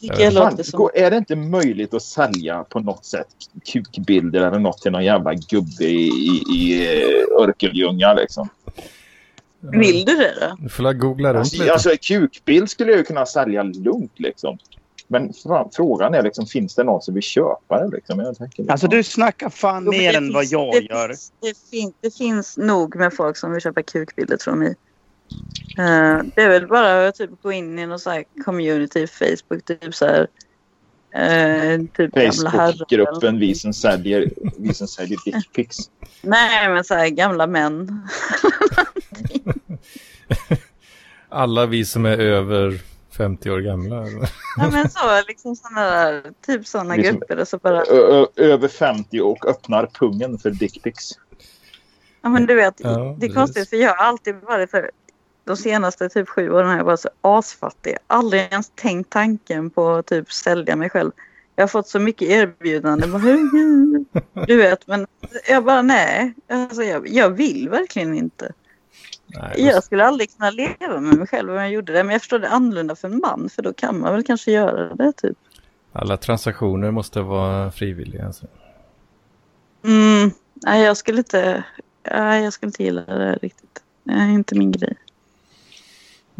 Tycker
Jag
jag
vet
Eh, Fan,
låter som...
gå- är det inte möjligt att sälja på något sätt kukbilder eller något till någon jävla gubbe i, i, i eh, Örkelljunga liksom?
Vill du det då?
Du får la googla runt
Alltså,
lite.
alltså kukbild skulle jag ju kunna sälja lugnt liksom. Men fan, frågan är liksom, finns det någon som vill köpa det liksom? Jag tänker,
Alltså du snackar fan
Jo, men
mer
det
än vad
finns-
jag
det
gör.
Finns, det, fin, det finns nog med folk som vill köpa kukbilder från mig. Eh, det är väl bara att typ gå in i någon så här community Facebook, typ så här... eh, typ gamla herrar.
Facebookgruppen vi som säljer, vi som säljer dickpics.
Nej, men så här gamla män. (laughs)
Alla vi som är över 50 år
(laughs)
gamla.
Nej, men så, liksom såna där, typ sådana
Liksom-
grupper. Och så bara,
Ö- ö- Över 50 och öppnar pungen för dickpics.
ja, men du vet,
Ja,
det är
precis.
konstigt för jag har alltid varit för de senaste typ sju åren har jag varit så asfattig. Aldrig ens tänkt tanken på att typ sälja mig själv. Jag har fått så mycket erbjudanden. Bara, "Hur- hur?"
(laughs)
Du vet, men jag bara nej. Alltså, jag, jag vill verkligen inte.
Nej, alltså,
Jag skulle aldrig kunna leva med mig själv om jag gjorde det. Men jag förstår det är annorlunda för en man. För då kan man väl kanske göra det typ.
Alla transaktioner måste vara frivilliga. Alltså.
Mm, nej, jag skulle inte. Nej, jag skulle inte gilla det riktigt. Nej, inte min grej.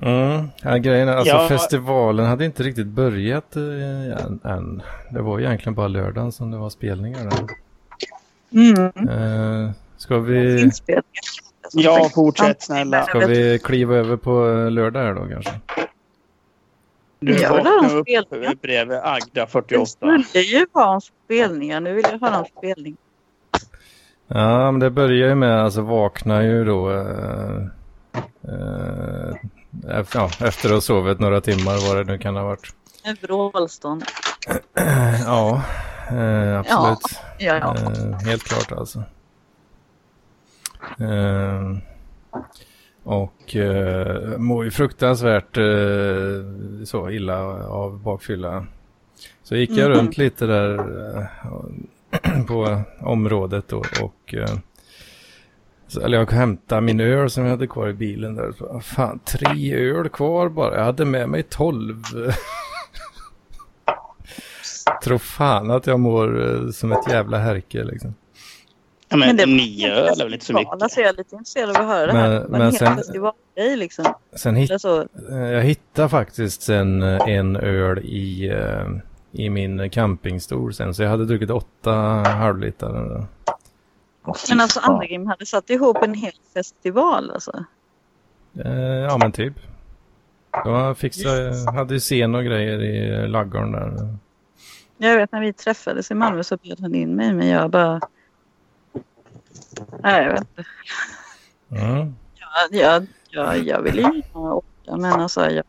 Mm. Ja, grejen är, alltså
Ja.
festivalen hade inte riktigt börjat eh, än- än. Det var egentligen bara lördagen som det var spelningar. där.
Mm.
Eh, ska, vi,
Inspelningar.
Ja, fortsätt snälla.
ska vi kliva över på eh, lördag här då kanske?
Du
Ja, det
vaknade
har de
upp
spelat.
bredvid Agda
Det
48.
skulle ju vara en spelningar. Nu vill jag höra en spelning.
Ja, men det börjar ju med, alltså vaknar ju då eh, eh, ef- ja, efter att ha sovit några timmar, vad det nu kan ha varit.
En vrålstånd.
Ja, eh, absolut.
Ja, ja.
Eh, helt klart alltså. Eh, och eh, mår ju fruktansvärt eh, så illa av bakfylla. Så gick jag
Mhm.
runt lite där eh, på området då och eh, så, eller jag hämtade min öl som jag hade kvar i bilen där. Så, "Ah, fan, tre öl kvar bara. Jag hade med mig tolv. (laughs) Tror fan att jag mår eh, som ett jävla härke liksom.
Ja, men
det-
nio öl är väl inte så mycket?
Alltså, jag är lite intresserad av att höra det här.
Men-
Men,
men
en
sen-
hel festivalgrej liksom.
Sen hittade
Eller så.
Eh, Jag hittade faktiskt sen eh, en öl i, eh, i min campingstol sen. Så jag hade druckit åtta halvlitare. då.
Åh, fy
Men alltså
fan.
Andergrim hade satt ihop en hel festival alltså.
Eh, Ja men typ. Jag fixade, jag hade ju scen och grejer i laggården där.
Jag vet när vi träffades i Malmö så bjöd han in mig men jag bara... Nej, jag vet inte.
Mm.
Jag, jag, jag, jag ville ju gärna åka men alltså jag...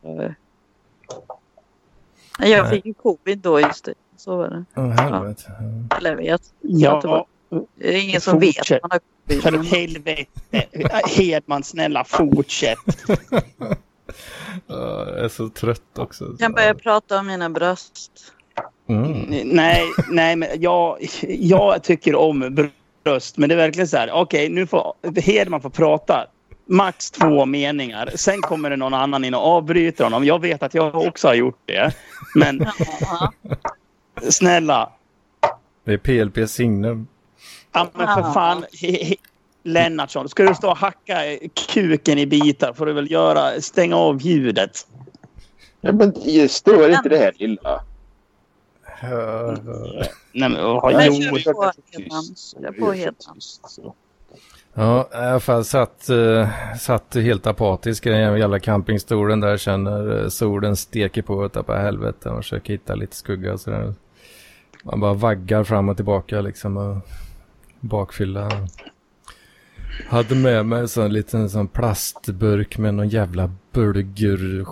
Jag
Nej.
fick ju covid då just det. Så var det.
Åh, helvete.
Eller jag vet. det var-
Ja,
Det är ingen som vet.
Fortsätt.
att Man har covid.
för helvete. Hedman, snälla fortsätt.
Ja, Jag är så trött också.
Jag kan börja prata om mina bröst.
Mm.
Nej, nej men jag, jag tycker om bröst. Men det är verkligen så här. Okej, nu får Hedman få prata. Max två meningar. Sen kommer det någon annan in och avbryter honom. Jag vet att jag också har gjort det. Men
Ja,
snälla.
Det är PLP signum.
Ja, men för fan. He- he- Lennartsson, ska du stå och hacka kuken i bitar får du väl göra, stänga av ljudet.
Ja, men stör inte det här lilla.
Hör, hör.
Nej, men, oh,
Nej,
jo.
kör på, Hedman. Kör på, Hedman.
Så.
Ja, i alla fall satt, eh, satt helt apatisk i den jävla campingstolen där sen när eh, solen steker på utav på helvete och försöker hitta lite skugga och sådär. Man bara vaggar fram och tillbaka liksom och bakfylla. Hade med mig en sån liten sån plastburk med någon jävla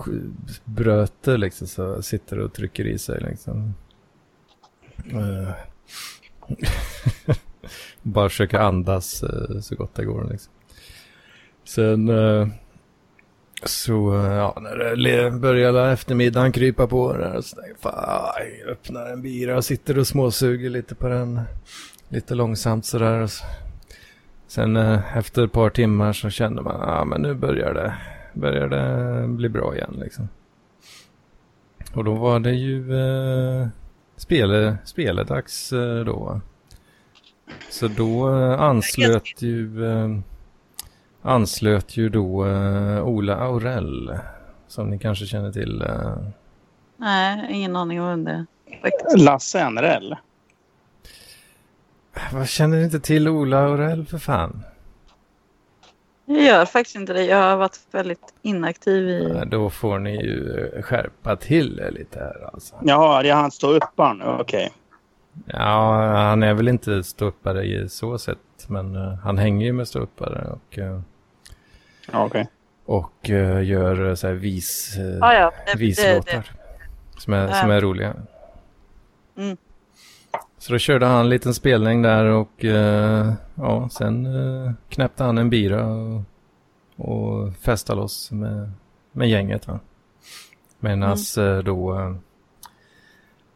bulgurbröte liksom så sitter och trycker i sig liksom. Eh, bara försöka andas eh, så gott det går. Liksom. Sen eh, så, eh, ja, när det le- började eftermiddagen krypa på där, så tänkte jag, fan, jag öppnar en bira och sitter och småsuger lite på den. Lite långsamt sådär. och så- Sen eh, efter ett par timmar så kände man, ja ah, men nu börjar det, börjar det bli bra igen liksom. Och då var det ju eh, spele, speledags eh, då. va? Så då eh, anslöt ju, eh, anslöt ju då eh, Ola Aurell, som ni kanske känner till. Eh,
Nej, ingen aning om vem det är.
Lasse Enrell.
vad känner ni inte till Ola Aurell för fan?
Jag gör faktiskt inte det. Jag har varit väldigt inaktiv i...
Eh, Då får ni ju eh, skärpa till er lite här alltså.
Jaha, det är han ståupparen nu. Okej.
Ja, han är väl inte ståuppare i så sätt, men eh, han hänger ju med ståuppare och, eh,
Ja, okej.
och eh, gör eh, så här vis, eh,
Ja, ja. Det, det,
vislåtar
det.
som är, som
Ja.
är roliga.
Mm.
Så då körde han en liten spelning där och eh, ja, sen eh, knäppte han en bira och, och festade loss med, med gänget. Va? Medans
Mm.
eh, då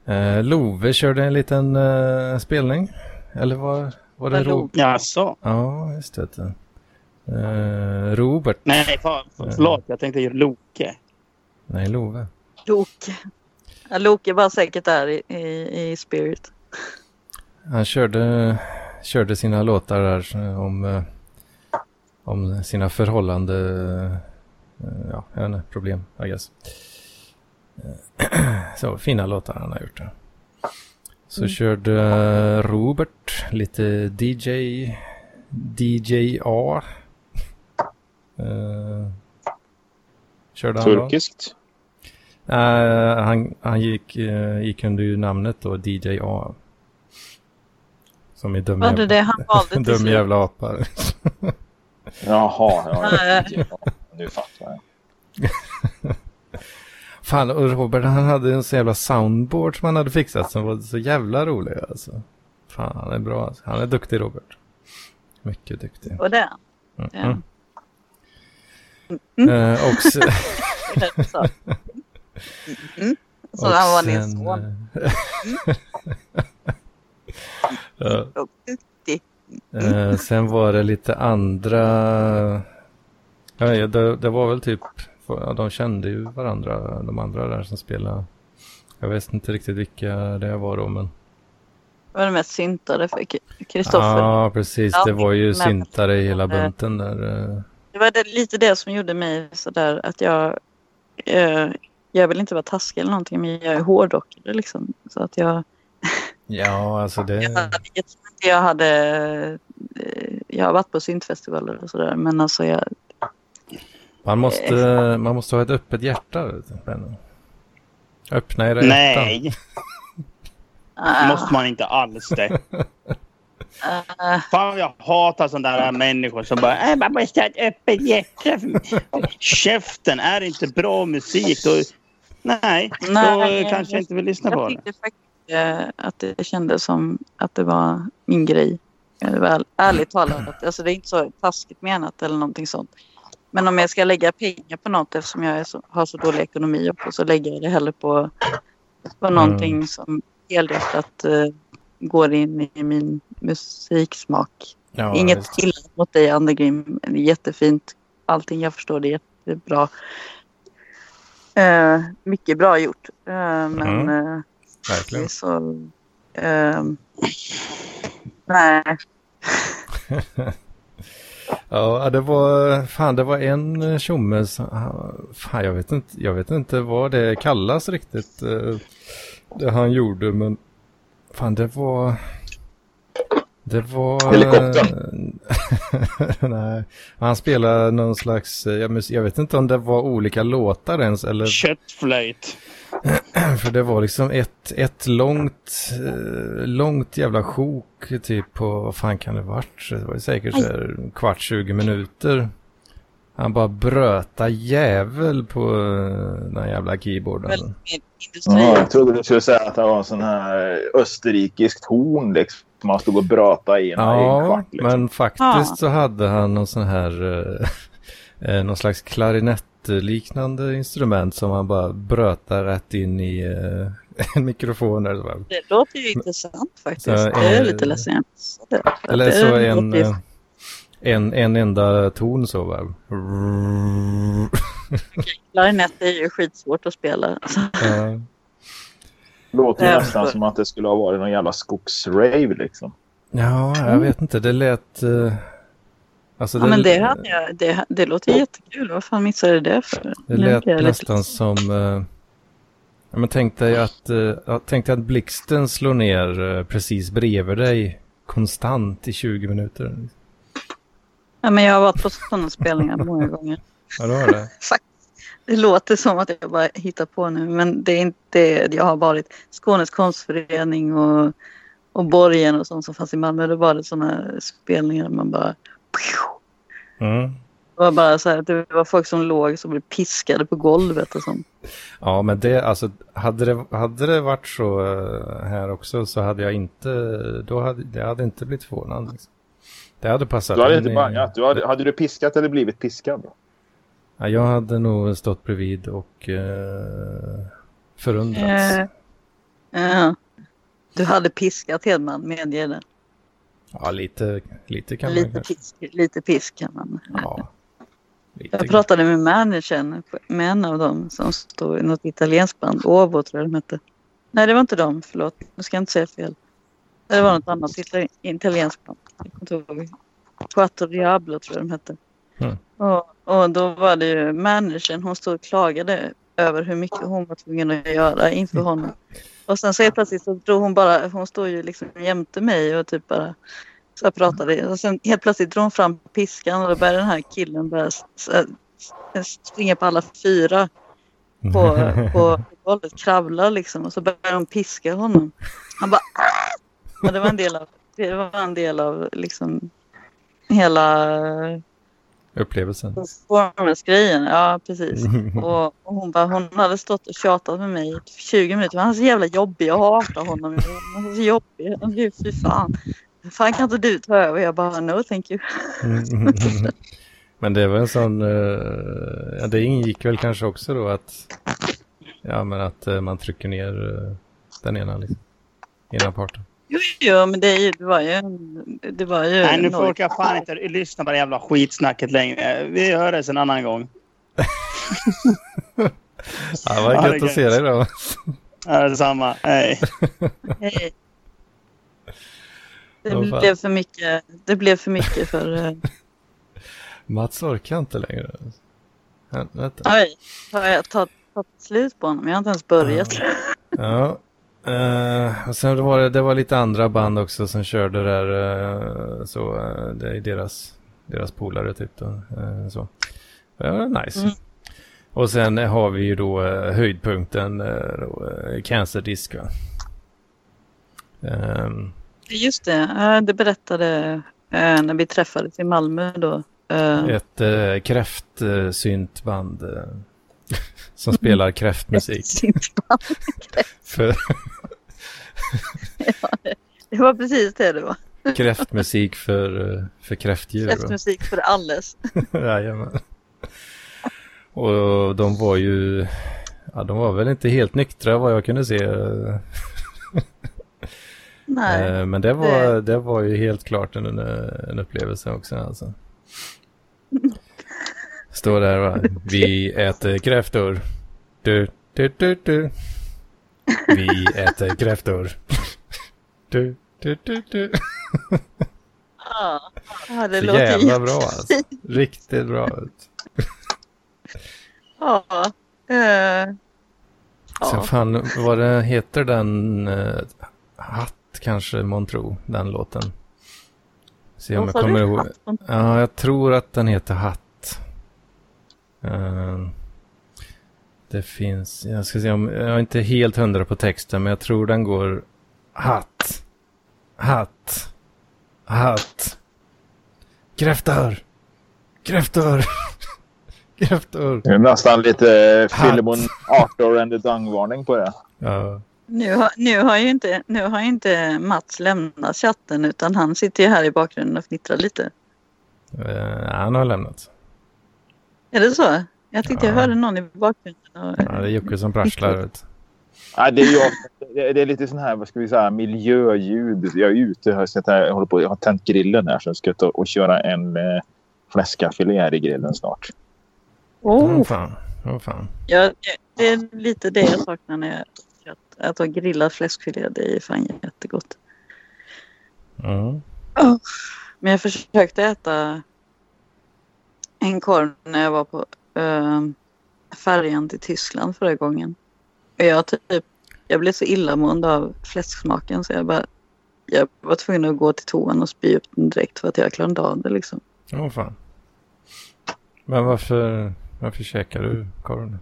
eh, Love körde en liten eh, spelning. Eller var, var det
Var
Ro-
Love?
Jaså?
Ja, just det. Eh, Robert.
Nej, för, för, förlåt. Jag tänkte ju Loke.
Nej, Love.
Loke. Ja, Loke var säkert där i, i, i spirit.
Han körde, körde sina låtar där eh, om, eh, om sina förhållande, eh, ja, jag vet inte, problem, I guess. Eh, (clears throat) Så fina låtar han har gjort. där. Så körde eh, Robert lite DJ, DJA. Eh, körde han då?
Turkiskt.
Nej, Eh, han, han gick, eh, gick under ju namnet då, DJ A. Som är (laughs) dum
Var det det han valde till
dum
slut?
jävla apa. (laughs)
Jaha, (laughs) ja,
Nej.
ja, ja. Nu fattar jag.
Fan, och Robert han hade en så jävla soundboard som han hade fixat som var så jävla rolig alltså. Fan, han är bra. alltså. Han är duktig Robert. Mycket duktig.
Och det.
Mm.
Ja.
Mm.
Mm.
Eh, och
(laughs)
sen,
det Så, mm. så
Typ och
han var din
sen,
son.
eh, (laughs) Ja.
Och
Eh, sen var det lite andra... Ja, ja, det, det var väl typ... Ja, de kände ju varandra, de andra där som spelade. Jag vet inte riktigt vilka det var då, men...
Det var det mest syntade för K- Kristoffer.
Ja, precis.
Ja,
Det var ju
men-
syntare i hela bunten där. eh.
Det var det, lite det som gjorde mig sådär att jag... Eh, jag vill inte vara taskig eller någonting men jag är hårdrockare liksom. Så att jag...
Ja, alltså
Jag
det...
hade, jag tror inte jag hade... eh, Jag har varit på syntfestivaler och sådär men alltså jag...
Man måste, man måste ha ett öppet hjärta, vet du. Benno. Öppna era hjärtan.
Nej,
Ah,
måste man inte alls det.
ah,
Fan, jag hatar sådana där människor som bara "Äh, man måste ha ett öppet hjärta. Käften, är det inte bra musik då, nej,
Nej,
då kanske jag inte vill lyssna på
jag
det.
tyckte faktiskt eh, att det kändes som att det var min grej. Eh, Väl, ärligt
Mm.
talat. Alltså det är inte så taskigt menat eller någonting sånt. Men om jag ska lägga pengar på något eftersom jag är så, har så dålig ekonomi också, så lägger jag det hellre på, på
Mm.
någonting som helhjärtat eh, går in i min musiksmak.
Ja,
Inget
visst.
illa mot dig, Andergrim. Jättefint. Allting jag förstår, det är jättebra. Eh, mycket bra gjort. Eh, men
Mhm.
eh, det är
Verkligen.
så... ehm, eh, nej.
Ja, det var, fan det var en eh, tjomme som, fan jag vet inte, jag vet inte vad det kallas riktigt. eh, Det han gjorde men, fan det var, det var... eh,
Helikoptern.
(laughs) Nej, han spelade någon slags, eh, jag mus- jag vet inte om det var olika låtar ens eller
Köttflöjt.
för det var liksom ett, ett långt, eh, långt jävla sjok typ på, vad fan kan det varit? Det var ju säkert så här, en kvart, 20 minuter. Han bara bröta jävel på eh, den här jävla
Väldigt
keyboarden.
mer industri.
Ja, jag trodde du skulle säga att det var en sån här österrikiskt horn liksom. som Man stod och bröta i en i en
Ja,
kvart. Liksom.
men faktiskt så hade han någon sån här, eh, (laughs) eh, någon slags klarinettliknande instrument som han bara bröta rätt in i eh, (laughs) en mikrofon. Där, så bara,
Det låter ju intressant faktiskt.
Så, eh,
jag är lite ledsen. jag missade det.
Eller
Det
så
låter
en,
ju-
eh, en, en enda ton
(laughs)
så va?
Klarinett är ju skitsvårt att spela. Alltså, Så,
Ja.
Låter ju
Ja.
nästan som att det skulle ha varit någon jävla skogsrave liksom.
Ja, jag vet inte. Det lät... eh, Alltså
Mm. ja, men det, hade jag, det, det låter jättekul. Vad fan missade jag det för?
det
Nu
lät
blir jag lite-
nästan som... eh, Ja, men tänk dig att, eh, ja, tänk dig att blixten slår ner eh, precis bredvid dig konstant i 20 minuter.
Ja, men jag har varit på sådana spelningar många gånger.
Ja, det var det.
Det låter som att jag bara hittar på nu, men det är inte jag har varit. Skånes konstförening och, och Borgen och sånt som fanns i Malmö, det var det sådana spelningar man bara...
Mm.
Det var bara så här, det var folk som låg som blev piskade på golvet och sånt.
Ja, men det, alltså, hade det, hade det varit så eh, här också så hade jag inte, då hade, det hade inte blivit förvånad. Liksom. Det hade passat.
Du hade
in
inte
i-
bangat. Du hade, hade du piskat eller blivit piskad?
Ja, jag hade nog stått bredvid och eh, förundrats.
Eh, ja. Du hade piskat Hedman, medge det.
Ja, lite, lite kan man
Lite
kanske.
pisk, lite pisk kan man.
Ja, lite.
Jag pratade med managern med en av dem som stod i något italienskt band. Ovo tror jag de hette. Nej, det var inte dem. Förlåt, nu ska jag inte säga fel. Det var något annat itali- italienskt band. Jag kommer inte ihåg. Quattro Diablo tror jag de hette.
Mm.
Och, och då var det ju managern, hon stod och klagade över hur mycket hon var tvungen att göra inför honom. Och sen så helt plötsligt så drog hon bara, hon stod ju liksom jämte mig och typ bara så här pratade. Och sen helt plötsligt drog hon fram piskan och då började den här killen börja s- s- s- springa på alla fyra
(laughs)
på, på golvet, kravla liksom. Och så började de piska honom. Han bara "Ah!" Men det var en del av, det var en del av liksom hela
(laughs) Upplevelsen.
performance-grejen. Ja, precis. Och, och hon bara, hon hade stått och tjatat med mig i 20 minuter. Han är så jävla jobbig. Jag hatar honom. Han är så jobbig. Han är- Fy fan. Fan kan inte du ta över? Jag bara, no thank you.
Mm. (laughs) Men det var en sån, eh, ja, det ingick väl kanske också då att, ja men att eh, man trycker ner eh, den ena liksom, ena parten.
Jo, jo men det, är ju, det var ju... en- Det var ju
Nej, nu
noll.
orkar jag fan inte lyssna på det jävla skitsnacket längre. Vi hördes en annan gång.
Ja, det var
Ja,
gött
det är
att se dig då.
Ja, Detsamma. Äh, Hej.
Hej. Det
Vad fan.
blev för mycket. Det blev för mycket för... eh,
Mats orkar inte längre. Helvete.
Oj, har jag tagit tagit slut på honom? Jag har inte ens börjat.
Ja. Eh, och sen var det, det var lite andra band också som körde där. eh, så eh, det är deras, deras polare typ då. eh, så. Det var nice.
Mm.
Och sen har vi ju då eh, höjdpunkten, eh, då, eh, cancerdisk va. Ehm,
Just det, ja, det berättade eh, när vi träffades i Malmö då. Eh,
ett äh, kräftsyntband eh, (laughs) som spelar kräftmusik.
(laughs)
För
Det var precis det det var.
kräftmusik för, eh, för kräftdjur. va?
Kräftmusik för alles. (laughs)
Jajamän. Och de var ju, ja de var väl inte helt nyktra vad jag kunde se.
Nej.
Eh, Men det var,
Det-
det var ju helt klart en, eh, en upplevelse också alltså. Står där va, vi äter kräftor. Du, du, du, du. Vi äter kräftor. Du, du, du, du.
Ja, Ja, det
Så
låter
jävla
jättefint.
bra alltså. Riktigt bra ut.
(laughs) Ja. eh,
Sen
ja.
fan, vad det heter den eh, Hatt kanske Montro, den låten. Se om
Vad
jag
sa du?
kommer ihåg.
Hatt från-
Ja, jag tror att den heter Hatt. Eh, det finns, jag ska se om, jag är inte helt hundra på texten, men jag tror den går Hatt, Hatt, Hatt. Kräftor, kräftor, (laughs) kräftor.
Det är nästan lite
Hatt.
Filemon Arthur and the Dung-varning på det.
Ja.
Nu har, nu, har ju inte, nu har ju inte Mats lämnat chatten utan han sitter ju här i bakgrunden och fnittrar lite.
Eh, han har lämnat.
Är det så? Jag tyckte jag
Ja.
hörde någon i bakgrunden. Och,
Ja, det är Jocke som prasslar. Vet.
Nej, det, är jag, det- det är lite sån här, vad ska vi säga, miljöljud. Jag är ute här, så att jag, håller på, jag har tänt grillen här så jag ska ta och köra en eh, fläskafilé här i grillen snart.
Åh
oh,
fan. Åh fan.
ja, det- det är lite det jag saknar när jag att, att ha grillad fläskfilé. Det är fan jättegott.
Mm.
Men jag försökte äta en korv när jag var på eh, färjan till Tyskland förra gången. Och jag, typ, jag blev så illamående av fläsksmaken så jag bara jag var tvungen att gå till toan och spy upp den direkt för att jag klarade inte av det. Liksom.
Åh fan. Men varför, varför käkar du korven?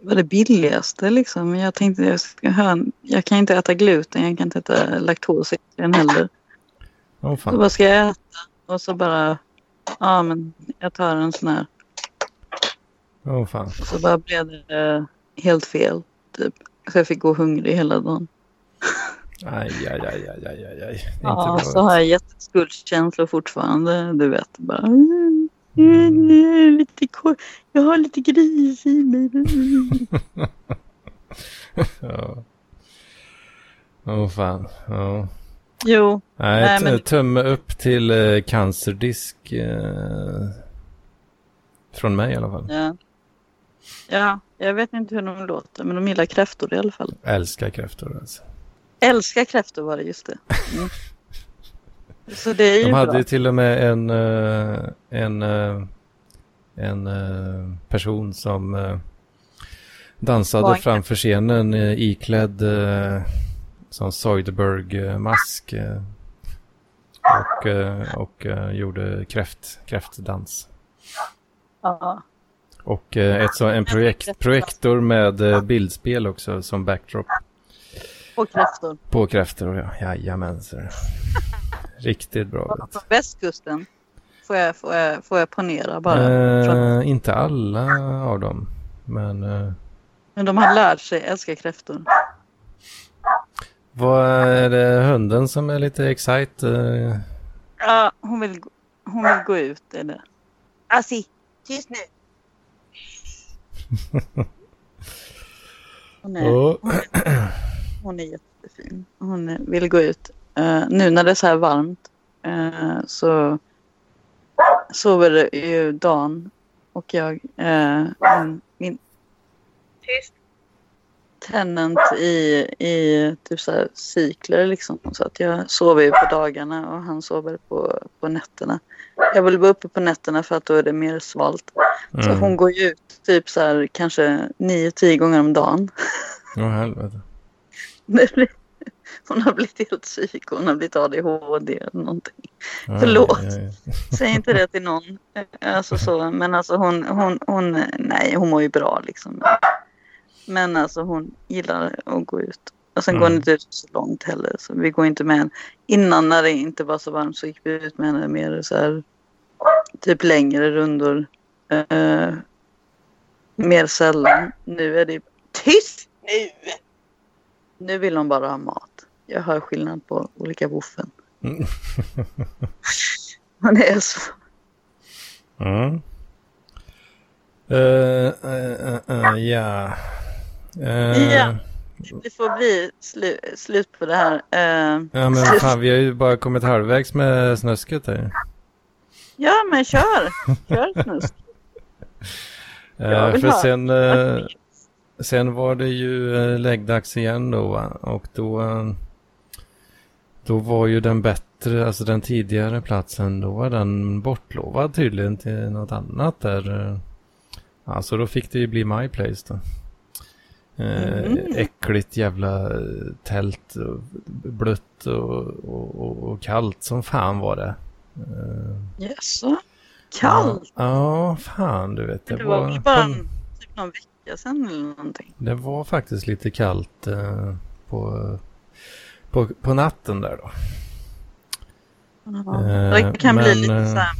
Det var det billigaste liksom. Men Jag tänkte jag, ska ha en, jag kan inte äta gluten, jag kan inte äta laktos i den heller.
Åh
Så
fan.
vad ska jag äta? Och så bara, ja men jag tar en sån här.
Åh fan.
Så bara blev det eh, helt fel. Typ. Så jag fick gå hungrig hela dagen.
Aj, aj, aj, aj, aj, aj. aj. Det är
Ja,
inte
så
bra.
har jag jätteskuldkänslor fortfarande. Du vet, bara... "Mm, mm, mm, Lite kor- jag har lite gris i mig. Mm.
Ja. Åh fan. Ja.
Jo,
Nej,
Nej,
t-
men-
tumme upp till eh, cancerdisk. Eh, från mig i alla fall.
ja. ja, jag vet inte hur de låter, men de gillar kräftor i alla fall.
Älskar kräftor alltså.
Älskar kräftor var det, just det. Mm. Så det är ju
De hade
bra.
ju till och med en, eh, en, eh, en eh, person som eh, dansade
Var en-
framför scenen eh, iklädd eh, som Soiderberg-mask. eh, Och, eh, och eh, gjorde kräft, kräftdans.
Ja.
Och eh, ett, så- en projekt, projektor med eh, bildspel också som backdrop
Och kräftor.
på kräftor. Ja, jajamän, så. Riktigt bra. vet du.
Från västkusten. Får jag, får, jag, får jag ponera bara.
Eh,
Från-
inte alla av dem. Men eh,
Men de har lärt sig älska kräftor.
vad är det hunden som är lite excite? eh?
Ja, hon vill, gå- hon vill gå ut eller? Assi, Alltså, tyst nu! Hon är,
Åh,
hon är jättefin. Hon eh, vill gå ut. Eh, nu när det är så här varmt eh, så sover ju Dan och jag. eh, om min tenant i, i typ så här cykler liksom. Så att jag sover ju på dagarna och han sover på, på nätterna. Jag vill vara uppe på nätterna för att då är det mer svalt. (laughs) Så
mm.
hon går ju ut typ så här kanske 9-10 gånger om dagen.
Åh, helvete.
Nu blir- Hon har blivit helt psyk, hon har blivit ADHD eller någonting.
Aj,
Förlåt.
aj, aj.
Säg inte det till någon. Alltså så, men alltså hon, hon, hon, nej hon mår ju bra liksom. Men alltså hon gillar att gå ut. Och sen går hon
Mm.
inte ut så långt heller. Så vi går inte med henne. Innan när det inte var så varmt så gick vi ut med henne mer så här. Typ längre rundor. Eh, mer sällan. Nu är det tyst nu! Nu vill hon bara ha mat. Jag hör skillnad på olika woofen. (laughs)
Mm.
Hon är så
Mm. Eh, eh, eh, eh, ja. Eh,
Ja. Det får bli slu slut på det här. Eh,
Ja,
(laughs)
men fan, vi har ju bara kommit halvvägs med snusket här.
ja, men kör! Kör snusk.
Eh,
Jag vill
för
höra.
sen, (laughs) eh, sen var det ju eh, läggdags igen då va? Och då, eh, då var ju den bett bättre, alltså den tidigare platsen, då var den bortlovad tydligen till något annat där. eh. Ja, så då fick det ju bli My Place då. Eh,
Mm.
Äckligt jävla eh, tält, och blött och, och, och, och kallt som fan var det. Eh,
Jaså? Kallt?
Ja, ja, fan du vet.
Men
Det
det var
var,
väl bara en, typ någon vecka sedan eller någonting.
det var faktiskt lite kallt eh, på, på, på natten där då.
Ja.
Eh,
det kan bli
men,
lite
eh,
så här.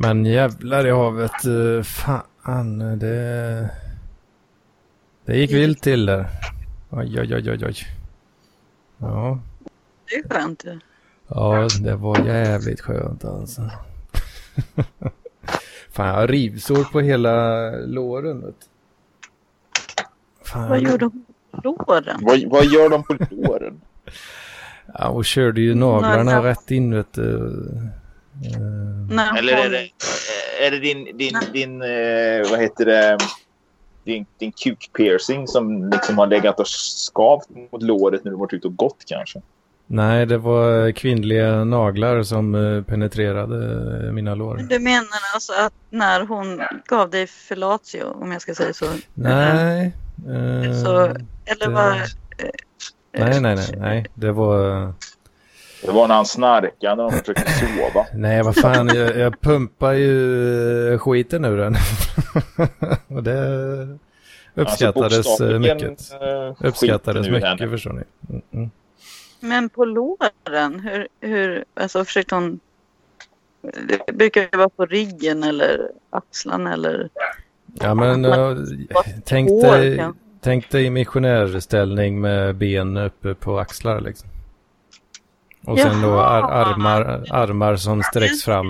Men jävlar i havet, eh, fan det... Det gick vilt till där. Oj, oj, oj, oj, oj. Ja,
Det är skönt ju.
ja det var jävligt skönt alltså. (laughs) fan, jag har rivsår på hela låren. Vet. du. Fan,
Vad gjorde hon på låren?
Vad, vad gör de på
(laughs)
låren?
Ja, och körde ju naglarna
Några-
rätt in vet du. Eh,
När
Eller är
hon-
det, eh, är det din, din, din eh, vad heter det, din, din kuk-piercing som liksom har legat och skavt mot låret när du varit ute och gått kanske?
Nej, det var kvinnliga naglar som eh, penetrerade eh, mina lår.
Du menar alltså att när hon gav dig fellatio, om jag ska säga så?
Nej. eh,
Så, Eller vad? eh,
det- Nej, nej, nej, nej. Det var...
Det var när han snarkade när de försökte sova.
Nej, vad fan. Jag, jag pumpar ju eh, skiten ur den. (laughs) Och det uppskattades eh,
Alltså,
mycket.
eh,
Uppskattades mycket, förstår ni. Mm, mm.
Men på låren, hur, hur alltså försökte hon? Det brukar ju vara på ryggen eller axlarna eller?
Ja, men eh, tänk,
Hår,
dig,
kanske.
tänk dig i missionärställning med ben uppe på axlar liksom. Och sen då ar
Jaha.
armar, armar som sträcks fram.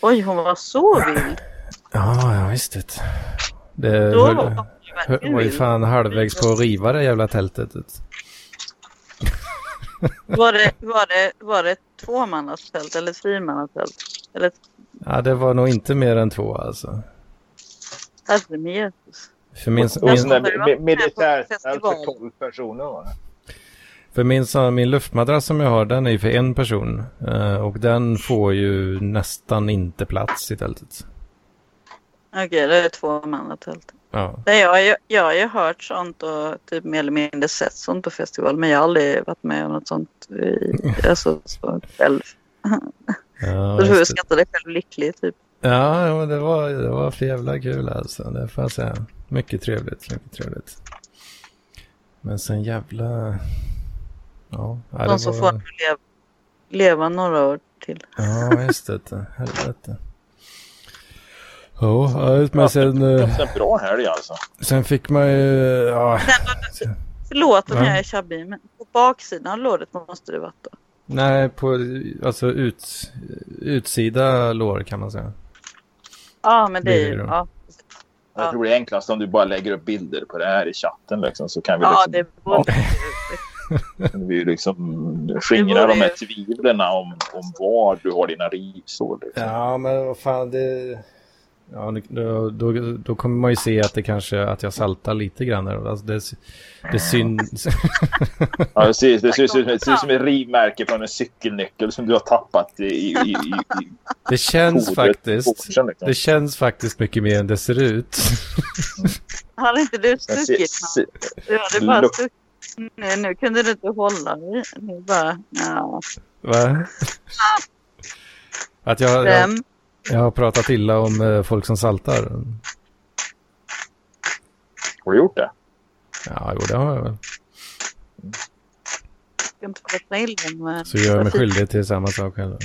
Oj, hon var så vild.
Ja, ja visst det. Det
Då
höll-
var hon ju
Hör-
verkligen
var ju
vild.
fan halvvägs på att riva det jävla tältet. ut.
Var det, var det, var det ett tvåmannatält eller ett fyrmannatält? Eller ett
Ja, det var nog inte mer än två alltså.
herre med Jesus.
För min,
Och en
min,
sån där militärställ för 12 personer var det.
för min, så- min luftmadrass som jag har, den är ju för en person. Eh, Och den får ju nästan inte plats i tältet.
Okej, det är ett tvåmannatält.
Ja,
Nej, jag, har ju- jag har ju hört sånt och typ mer eller mindre sett sånt på festival men jag har aldrig varit med om något sånt i,
(laughs)
alltså, så själv.
ja,
Jag tror jag
just det.
skattade själv lycklig typ.
ja ja, men det var, det var för jävla kul alltså. Det får jag säga. Mycket trevligt, mycket trevligt. Men sen jävla... Ja, ja det
De som får
var...
nu leva, leva några år till.
Ja, just det. Helvete. Ja, ja, men sen,
Det
eh,
var en bra helg alltså.
sen fick man ju... Ja,
Förlåt om
Nej.
jag är tjabbig men på baksidan av låret måste det vara då.
nej, på alltså ut, utsida lår kan man säga.
Ja men det är ju,
Blir det då?
ja,
Jag tror det är enklast om du bara lägger upp bilder på det här i chatten liksom, så kan vi
ja
liksom,
det (laughs) borde
kan vi ju liksom skingra
Det vore
de här
ju-
tvivlen om, om var du har dina rivsår. Liksom.
Ja, men vad fan det... Ja, nu- då, då, då kommer man ju se att det kanske att jag saltar lite grann. här. Alltså det, det (laughs) syns...
Ja, det ser, det ser, ut- det ser ut som ett rivmärke från en cykelnyckel som du har tappat i, i, i, i
Det känns
fodret
faktiskt...
för sedan, liksom.
Det känns faktiskt mycket mer än det ser ut. (laughs)
Har inte du
Den ser,
stuckit någon?
ser,
Du hade bara
lukt.
stuckit. Nu, nu kunde du inte hålla dig. Nu bara, ja.
Va? Att jag, jag,
Vem?
jag har pratat illa om eh, folk som saltar.
har du gjort det?
Ja, jo, det har jag väl.
ska inte prata illa med...
Så gör jag mig skyldig till samma sak själv.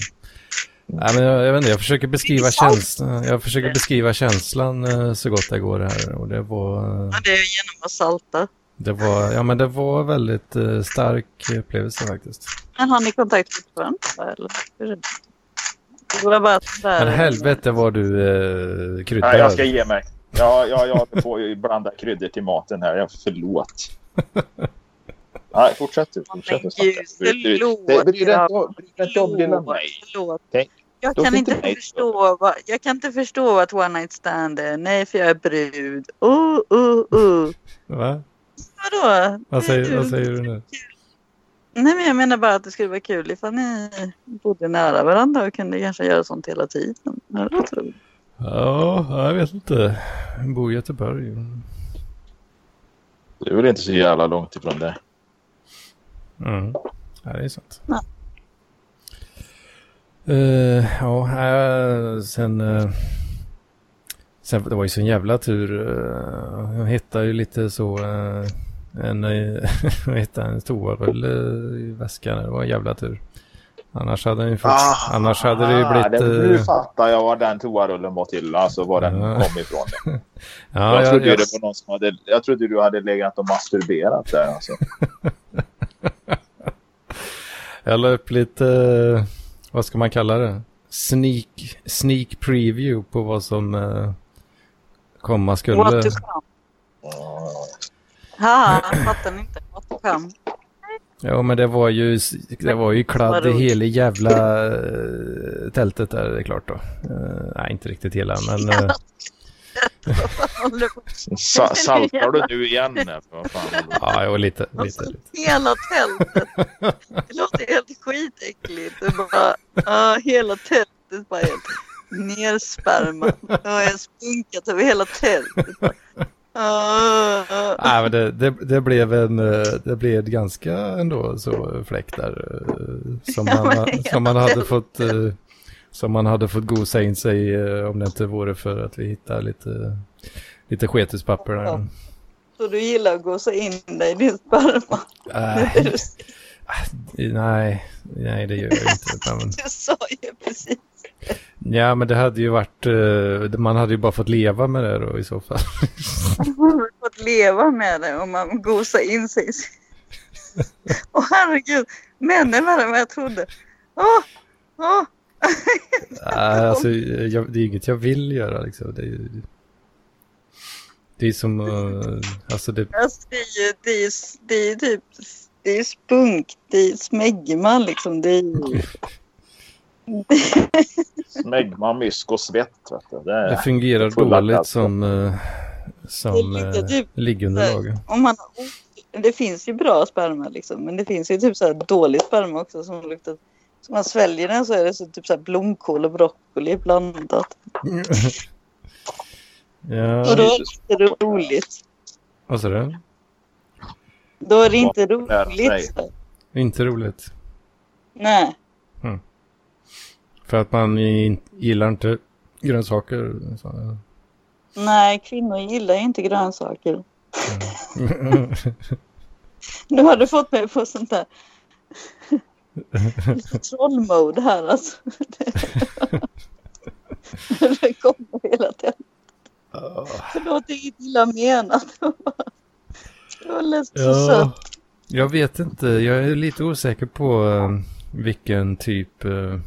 Nej, men jag, jag vet inte, jag försöker beskriva känslan, jag försöker beskriva känslan eh, så gott det går här. Och det var, eh,
Ja, det är ju genom att salta.
det var, ja men det var väldigt eh, stark upplevelse faktiskt.
Men har ni kontakt fortfarande? Eller? Hur är det? Det var bara sådär...
Men helvete vad du eh, kryddar.
Nej, jag ska ge mig. Ja, ja, jag får ju blanda kryddor till maten här. Jag (laughs) förlåt. Nej, fortsätt du. Fortsätt
Men
du. snacka.
gud,
Du- du-
förlåt,
det- Bry dig inte om- bry dig inte om dina
Förlåt,
mig.
förlåt.
Nej,
Jag
då
kan,
fick du
inte
nej.
förstå vad, jag kan inte förstå vad ett one night stand är. Nej, för jag är brud. Oh, oh, oh.
Va?
Vadå?
Vad säger,
Brud.
vad säger du nu?
Nej, men jag menar bara att det skulle vara kul ifall ni bodde nära varandra och kunde kanske göra sånt hela tiden. Det hade varit roligt.
Ja, jag vet inte. Jag bor i Göteborg.
Det är väl inte så jävla långt ifrån det.
Mm. Ja, det är sant.
Ja.
Eh, ja, eh, sen... eh, sen det var ju sån jävla tur. eh, jag hittade ju lite så... eh, en, eh, (laughs) jag hittade en toarulle i väskan. Det var en jävla tur. Annars hade, den ju fått, annars hade det ju blivit...
Ah, Det, nu
eh,
fattar jag var den toarullen var till. Alltså var den
Ja.
kom ifrån.
ja,
jag,
jag-
trodde ju
jag-
det var någon som hade, jag trodde du hade legat och masturberat där. Alltså.
Jag la upp lite, eh, vad ska man kalla det? Sneak, sneak preview på vad som eh, komma skulle.
What to come.
Ja, ja.
Ha, fattar ni inte? What to come.
Ja men det var ju, det var ju kladd i
Vad roligt.
hela jävla eh, tältet där det är klart då. Eh, nej inte riktigt hela
(laughs)
men eh,
Håller på (laughs)
Sa, saltar du nu igen? eller? Vad fan?
ja jo, lite, lite.
Alltså, hela tältet. Det låter helt skitäckligt. Det är bara, ja, hela tältet bara helt nerspärmat. Ja, jag har spunkat över hela tältet. Ja, ja, ja.
Nej men det, det, det blev en, eh, det blev ett ganska ändå så fläck där. eh, Som
Ja,
man,
men
som man hade fått, eh, som man hade fått gosa in sig eh, om det inte vore för att vi hittade lite, lite sketispapper där.
Ja. Så du gillar att gå så in dig i din sperma?
Nej, nej, nej det gör jag inte. Men,
Du sa ju precis.
ja men det hade ju varit, eh, man hade ju bara fått leva med det då i så fall.
Man har fått leva med det och man gosar in sig. i sin- Åh herregud, männen värre än vad jag trodde. Åh, åh.
Nej, alltså, jag, det är inget jag vill göra liksom. Det är, ju- det är som, eh, alltså det,
Alltså, det, är ju, det, är, ju- det är ju typ det är ju spunk, det är ju smäggman liksom. Det är ju...
Smegma, mysk och svett. Vet du. Det
Det
är,
fungerar
Fulla
dåligt
platser.
som, eh, som
Det ligger
eh,
typ
liggunderlag.
Om man, har ont- det finns ju bra sperma liksom, men det finns ju typ så här dålig sperma också som luktar... Så man sväljer den så är det så typ så här blomkål och broccoli blandat.
ja,
Och då är det inte roligt.
vad sa du?
Då är det inte
Lära sig.
roligt. så.
Inte roligt.
Nej.
För att man i- gillar inte grönsaker. (laughs) Så.
Nej, kvinnor gillar ju inte grönsaker. Nu har du fått mig på sånt där lite trollmode här alltså. det kommer hela tiden. Förlåt, det är inte illa menat. Trolle är så
ja,
sött.
jag vet inte, jag är lite osäker på eh, vilken typ eh,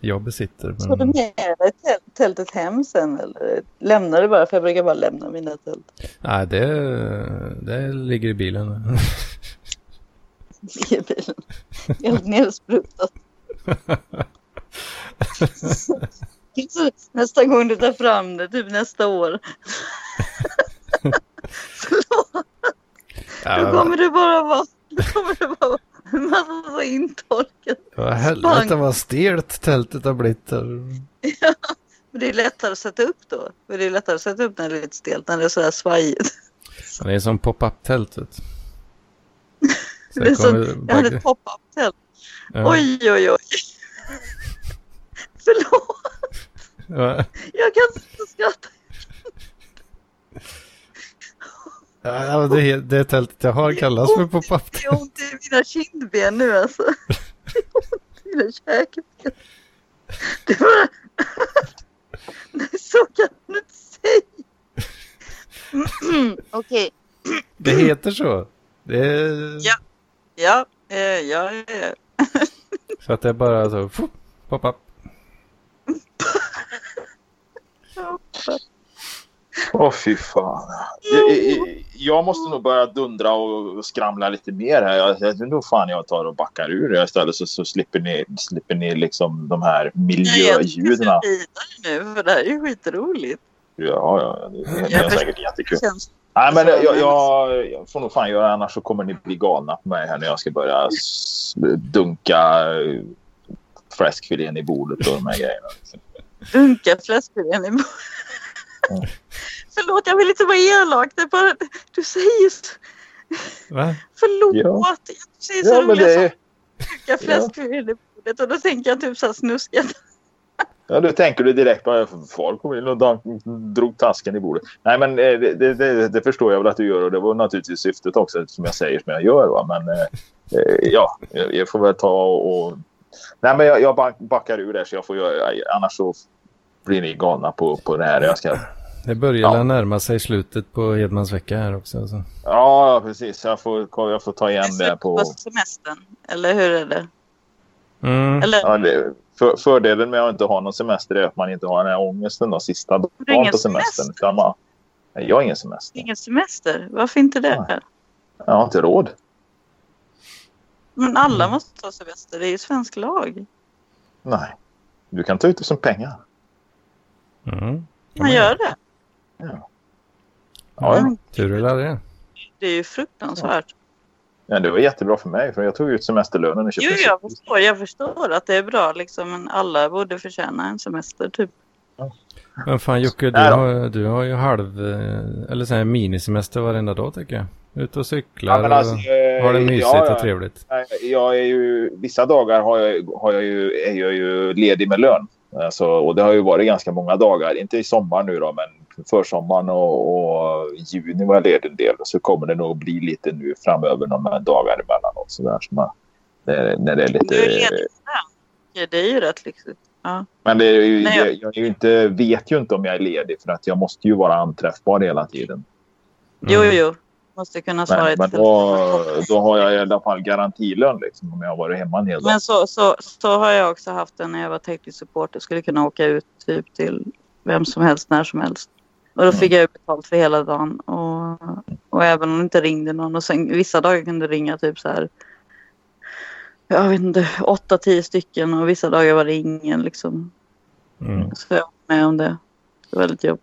jag besitter.
Tog du
Men,
med dig tält- tältet hem sen eller lämnade du bara? För jag brukar bara lämna mina tält.
nej, det, det ligger i bilen. (laughs)
i bilen. Helt nersprutat. Så (laughs) nästa gång du tar fram det, typ nästa år, då kommer det bara vara, då kommer det bara vara en massa så intorkat.
Vad helvete vad stelt tältet har blivit. där.
Men det är lättare att sätta upp då. För det är lättare att sätta upp när det är lite stelt, när det är sådär svajigt. (laughs)
Det är som pop-up-tältet. Så
Det är
kommer
Jag hade
bagge-
ett pop-up-tält.
Ja.
Oj, oj, (laughs) oj. Förlåt,
Ja.
jag kan inte skratta.
Ja, men det, det tältet jag har kallas för pop-up.
Det är ont i mina kindben nu alltså. (laughs) Det är ont i mina käkben. Det var... (laughs) Nej, så kan du inte säga. (clears throat) Mm, Okej.
Det heter så. Det är,
Ja. Ja, eh, ja, ja.
Så att det är bara så, fuh, pop-up.
Åh fy fan. Jag, jag- jag måste nog börja dundra och skramla lite mer här. Jag, jag tror nog fan jag tar och backar ur det istället så, så slipper, ni, slipper ni liksom de här miljöljuden.
vidare nu, för det här är ju skitroligt.
Ja, ja, det är
Jag
säkert jättekul.
Det känns
Nej, men jag, jag, jag får nog fan göra annars så kommer ni bli galna på mig här när jag ska börja s- dunka eh, fläskfilén i bordet och de här grejerna. liksom.
Dunka fläskfilén i munnen. (laughs) Förlåt, jag vill inte vara elak. Det är bara, du säger så-
Va?
förlåt.
Ja.
Du säger så
Ja, men
roliga
det
saker.
är,
Dunka fläskfilén i bordet och då tänker jag typ så här snusket.
ja, då tänker du direkt bara folk kom in och dan- drog tasken i bordet. Nej, men eh, det, det, det, det förstår jag väl att du gör och det var naturligtvis syftet också som jag säger som jag gör. Va? Men eh, eh, ja, jag, jag får väl ta och... och... Nej, men jag, jag back- backar ur där så jag får göra, annars så blir ni galna på, på det här. Jag ska
Det börjar
Ja.
ja. närma sig slutet på Hedmans vecka här också. Så.
Ja, ja, precis. Jag får, jag får ta igen det på...
på semestern. Eller hur är det?
Mm.
Eller
Ja, det för, fördelen med att inte ha någon semester är att man inte har den här ångesten då, sista
du ingen
dagen på semestern.
semester?
Utan man, Nej, jag har ingen semester.
ingen semester? Varför inte det?
Jag har inte råd.
Men
Mm.
alla måste ta semester. Det är ju svensk lag.
Nej. Du kan ta ut det som pengar.
Mm.
Man gör det.
Ja, ja.
Mm.
Tur eller det.
Det är ju fruktansvärt.
ja, det var jättebra för mig. för Jag tog ut semesterlönen i
Jo, jag förstår, jag förstår att det är bra liksom, men alla borde förtjäna en semester typ.
Men fan Jocke, du
Nej då.
har, du har ju halv, eh, eller så här minisemester varenda dag tycker jag. Ut och cyklar
Ja, men alltså, eh,
och har det mysigt
ja, ja.
och trevligt.
Nej, Jag är ju, vissa dagar har jag, har jag ju, är jag ju ledig med lön. Alltså, och det har ju varit ganska många dagar. Inte i sommar nu då, men försommaren och, och juni var jag ledig en del. Så kommer det nog bli lite nu framöver, några dagar emellan. Och så där, så man, när, när det är
Du är
lite...
ledig för det. Ja, Det är ju rätt liksom. lyxigt. Ja.
Men det är ju,
Nej,
jag, jag är ju inte, vet ju inte om jag är ledig för att jag måste ju vara anträffbar hela tiden.
Jo, jo. Måste kunna svara
Mm. Men,
i
men då,
telefon.
då har jag i alla fall garantilön liksom, om jag har varit hemma en hel dag.
Men så, så, så har jag också haft det när jag var teknisk supporter. Skulle kunna åka ut typ till vem som helst när som helst. Och
Mm.
då fick jag ju betalt för hela dagen. Och, och även om det inte ringde någon. Och sen, vissa dagar kunde det ringa typ så här. Jag vet inte, 8-10 stycken och vissa dagar var det ingen liksom.
Mm.
Så jag var med om det. Det var väldigt jobbigt.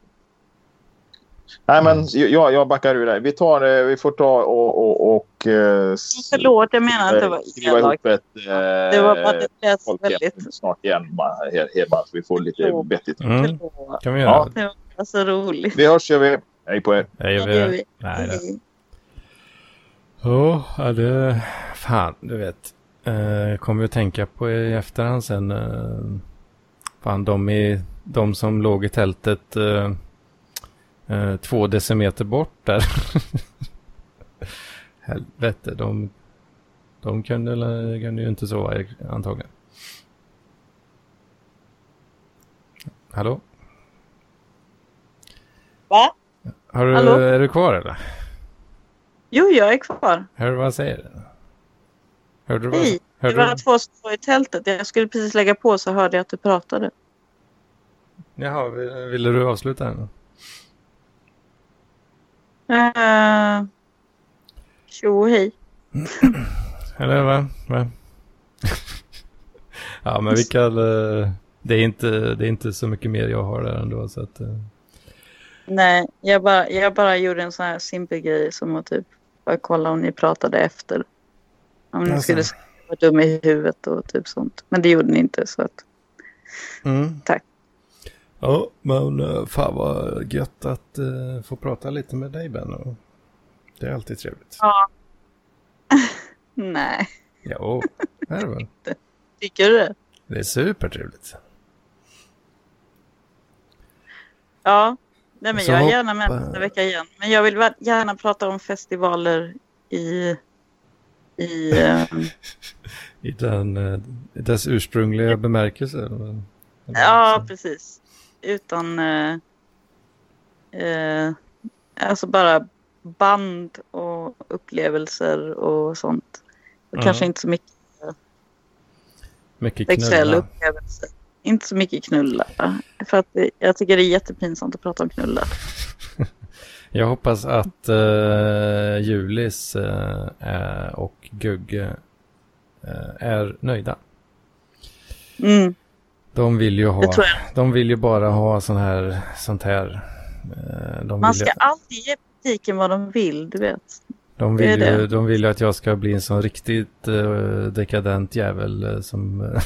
Nej, men jag, jag backar ur där. Vi, tar, eh, vi får ta och... och, och eh, s- eh,
Förlåt, jag menar inte att det var
skriva
elakt.
ihop ett...
Det var bara att det lät
folk
väldigt...
snart igen, ma- he- Hedman, så vi får lite
Jo.
vettigt.
Mm.
Förlåt.
Kan vi göra.
Ja.
Det var så roligt.
Vi hörs, gör vi. Hej på er.
Nej, jag
Ja,
vill...
det-
Nej, det... Ja, ja, det... Fan, du vet. Eh, kommer ju att tänka på i efterhand sen. Eh, fan, de, i, de som låg i tältet eh, eh, två decimeter bort där. (laughs) Helvete, de, de kunde, kunde ju inte sova i- antagligen. Hallå?
Va?
Har du,
Hallå?
Är du kvar eller?
Jo, jag är kvar.
Hör du vad jag säger? Hörde du vad
Hej,
jag
Det
hörde
var
du?
två som var i tältet. Jag skulle precis lägga på så hörde jag att du pratade.
Jaha, vill- ville du avsluta? den?
Uh, tjo och hej.
Eller va? va? (laughs) ja, men vi kan... eh, Det är, inte, det är inte så mycket mer jag har där ändå. Så att, eh,
Nej, jag bara, jag bara gjorde en sån här simpel grej som att typ bara kolla om ni pratade efter. Om ni
Alltså.
skulle säga att jag var dum i huvudet och typ sånt. Men det gjorde ni inte så att Tack.
Mm. Ja, men eh, fan vad gött att eh, få prata lite med dig Ben. och Det är alltid (laughs) trevligt.
nej.
Jo, det är det väl.
Tycker du det?
Det är supertrevligt.
Ja. Nej, men
Så
jag är
hopp-
gärna med nästa vecka igen. Men jag vill va- gärna prata om festivaler i... i ehm,
I den, eh, i dess ursprungliga bemärkelse. eller- eller
Ja,
så.
precis. Utan... Eh, eh, alltså bara band och upplevelser och sånt. Och
Mm.
Kanske inte så mycket
Mycket
sexuella
knulla.
upplevelser. Inte så mycket knulla. För att det, jag tycker det är jättepinsamt att prata om knulla.
Jag hoppas att eh, Julis eh, eh, och Gugge eh, är nöjda.
Mm,
De vill ju,
det
ha,
tror jag.
de vill ju bara ha sån här, sånt här. Eh, de
Man
vill ju,
ska aldrig ge butiken vad de vill, du vet.
De vill,
Det är
ju,
det.
de vill ju att jag ska bli en sån riktigt eh, dekadent jävel eh, som, (laughs) eh,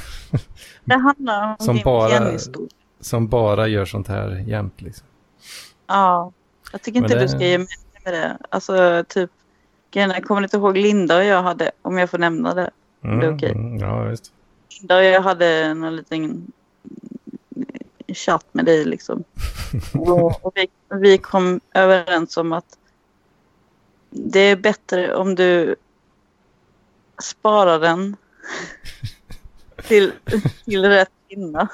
Det handlar om
Som
din
bara-
pianistol.
som bara gör sånt här jämt. Liksom.
Ja, jag tycker
Men
inte
det-
du ska ge mig med det. Alltså typ, grejen är, jag kommer inte ihåg Linda och jag hade, om jag får nämna det.
Mm,
Det är okej.
mm, ja, visst.
Linda och jag hade någon liten eh, chatt med dig
(laughs)
liksom. Och, och vi, vi kom överens om att det är bättre om du sparar
(laughs)
den till, till rätt kvinna.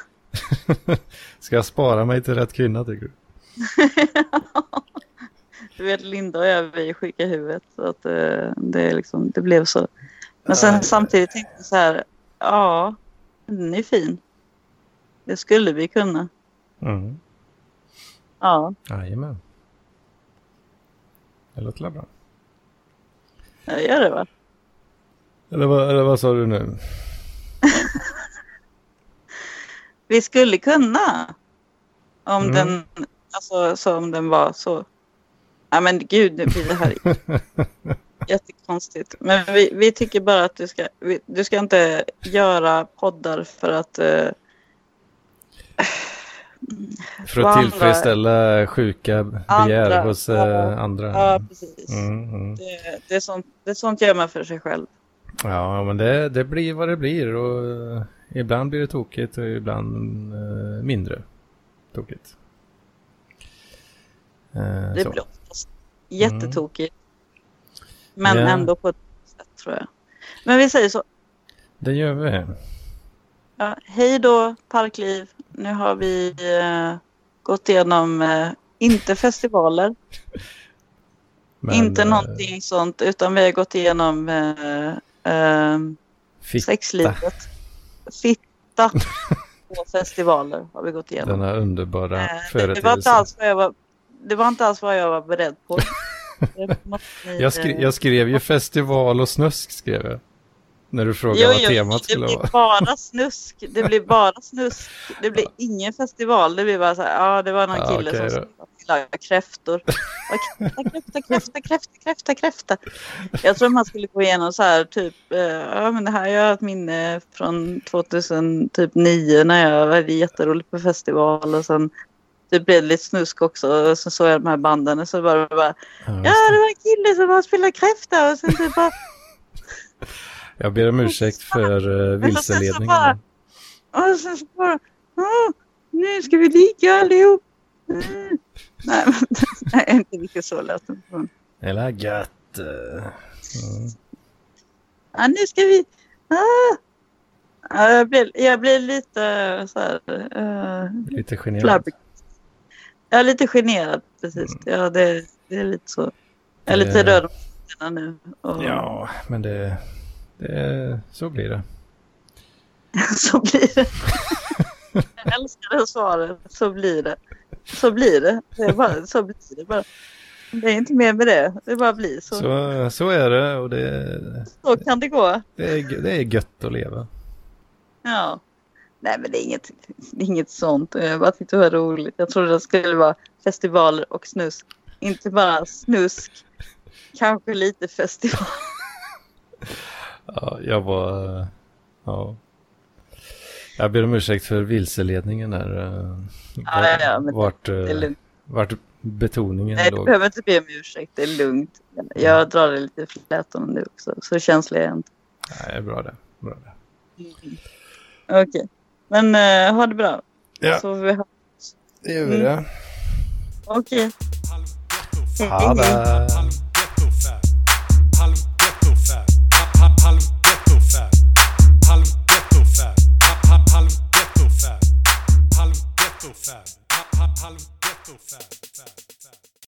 Ska jag spara mig till rätt kvinna tycker du?
Du vet Linda och jag, vi är sjuka i huvudet. Så att, eh, det, är liksom, det blev så. Men sen
Aj.
samtidigt tänkte jag så här, ja, den är fin. Det skulle vi kunna.
Mm.
Ja,
Jajamän. Det låter bra.
jag gör det va?
Eller vad, eller vad sa du nu?
Vi skulle kunna. Om
Mm.
den, alltså så om den var så. Ja men gud, nu blir det
(laughs)
här jättekonstigt. Men vi, vi tycker bara att du ska, vi, du ska inte göra poddar för att eh,
För
Vad
att
andra-
tillfredsställa sjuka begär
Andra,
hos
ja.
eh, andra.
ja precis.
Mm, mm.
Det, det, är sånt, det är sånt gör man för sig själv.
Ja, men det, det blir vad det blir. Och eh, ibland blir det tokigt och ibland eh, mindre tokigt. Eh,
Det
så.
blir oftast jättetokigt. Men
Ja.
ändå på ett sätt tror jag. Men vi säger så.
det gör vi.
Ja, hej då Parkliv. Nu har vi eh, gått igenom, eh, inte festivaler,
Men,
inte
eh,
någonting sånt, utan vi har gått igenom eh, eh,
fick
sexlivet. Fitta på festivaler har vi gått igenom.
denna underbara
Eh, det, det, var inte
företeelse.
alls vad jag var, det var inte alls vad jag var beredd
(laughs)
på. Det måste ni,
Jag, skri- jag skrev ju festival och snusk skrev jag. När du
eh,
frågade
jo,
vad
jo, det
temat skulle
blir
vara.
bara snusk. Det
(laughs)
blir bara snusk. Det blir ingen festival. Det blir bara så här, ja det var någon
Ja,
kille
okej då.
som skulle laga kräftor. Ja, Kräfta, kräfta, kräfta, kräfta, kräfta. Jag tror man skulle gå igenom så här typ, eh, ja men det här är ett minne från 2009 när jag hade jätteroligt på festival och sen det blev lite snusk också och så såg jag de här banden och så var det bara
Ja,
Ja, det var en kille som bara spelade kräfta och sen typ bara...
Jag ber om ursäkt för uh,
Men och sen så
vilseledningen.
bara- Och sen så bara... "Åh, nu ska vi ligga allihop! Mm. Nej, men, (laughs) nej, inte riktigt så lät det. Men,
Eller gött. eh. Mm.
Ja, nu ska vi... Ah. Ja, jag, blir, jag blir lite så här... eh,
Lite generad.
flabbig. Jag är lite generad, precis. Ja, det, det är lite så. Jag är lite
Mm. Det-
röd om fötterna nu. Och
Ja, men det, det... Så blir det.
(laughs) Så blir det. Jag älskar det svaret. Så blir det. Så blir det. det är bara, så blir det bara. Det är inte mer med det. Det bara blir så. Så,
Så, så är det och det,
kan det gå.
det, är, det är gött att leva.
Ja. Nej men det är inget, det är inget sånt. Jag bara tyckte det var roligt. Jag trodde det skulle vara festivaler och snusk. Inte bara snusk. Kanske lite festival.
Ja, jag var... eh, Ja. Jag ber om ursäkt för vilseledningen där. eh,
Ja, ja, ja, men
vart, eh,
Det är lugnt.
vart betoningen
Nej, du
låg.
behöver inte be om ursäkt. Det är lugnt. Jag drar det lite flätorna nu också. Så känslig är jag inte.
Nej, bra det. Bra det.
Okej. Men eh, ha det bra.
Ja.
Så får vi ha...
Det gör
vi
det.
Okej.
Ha det.
Halv ghetto fab.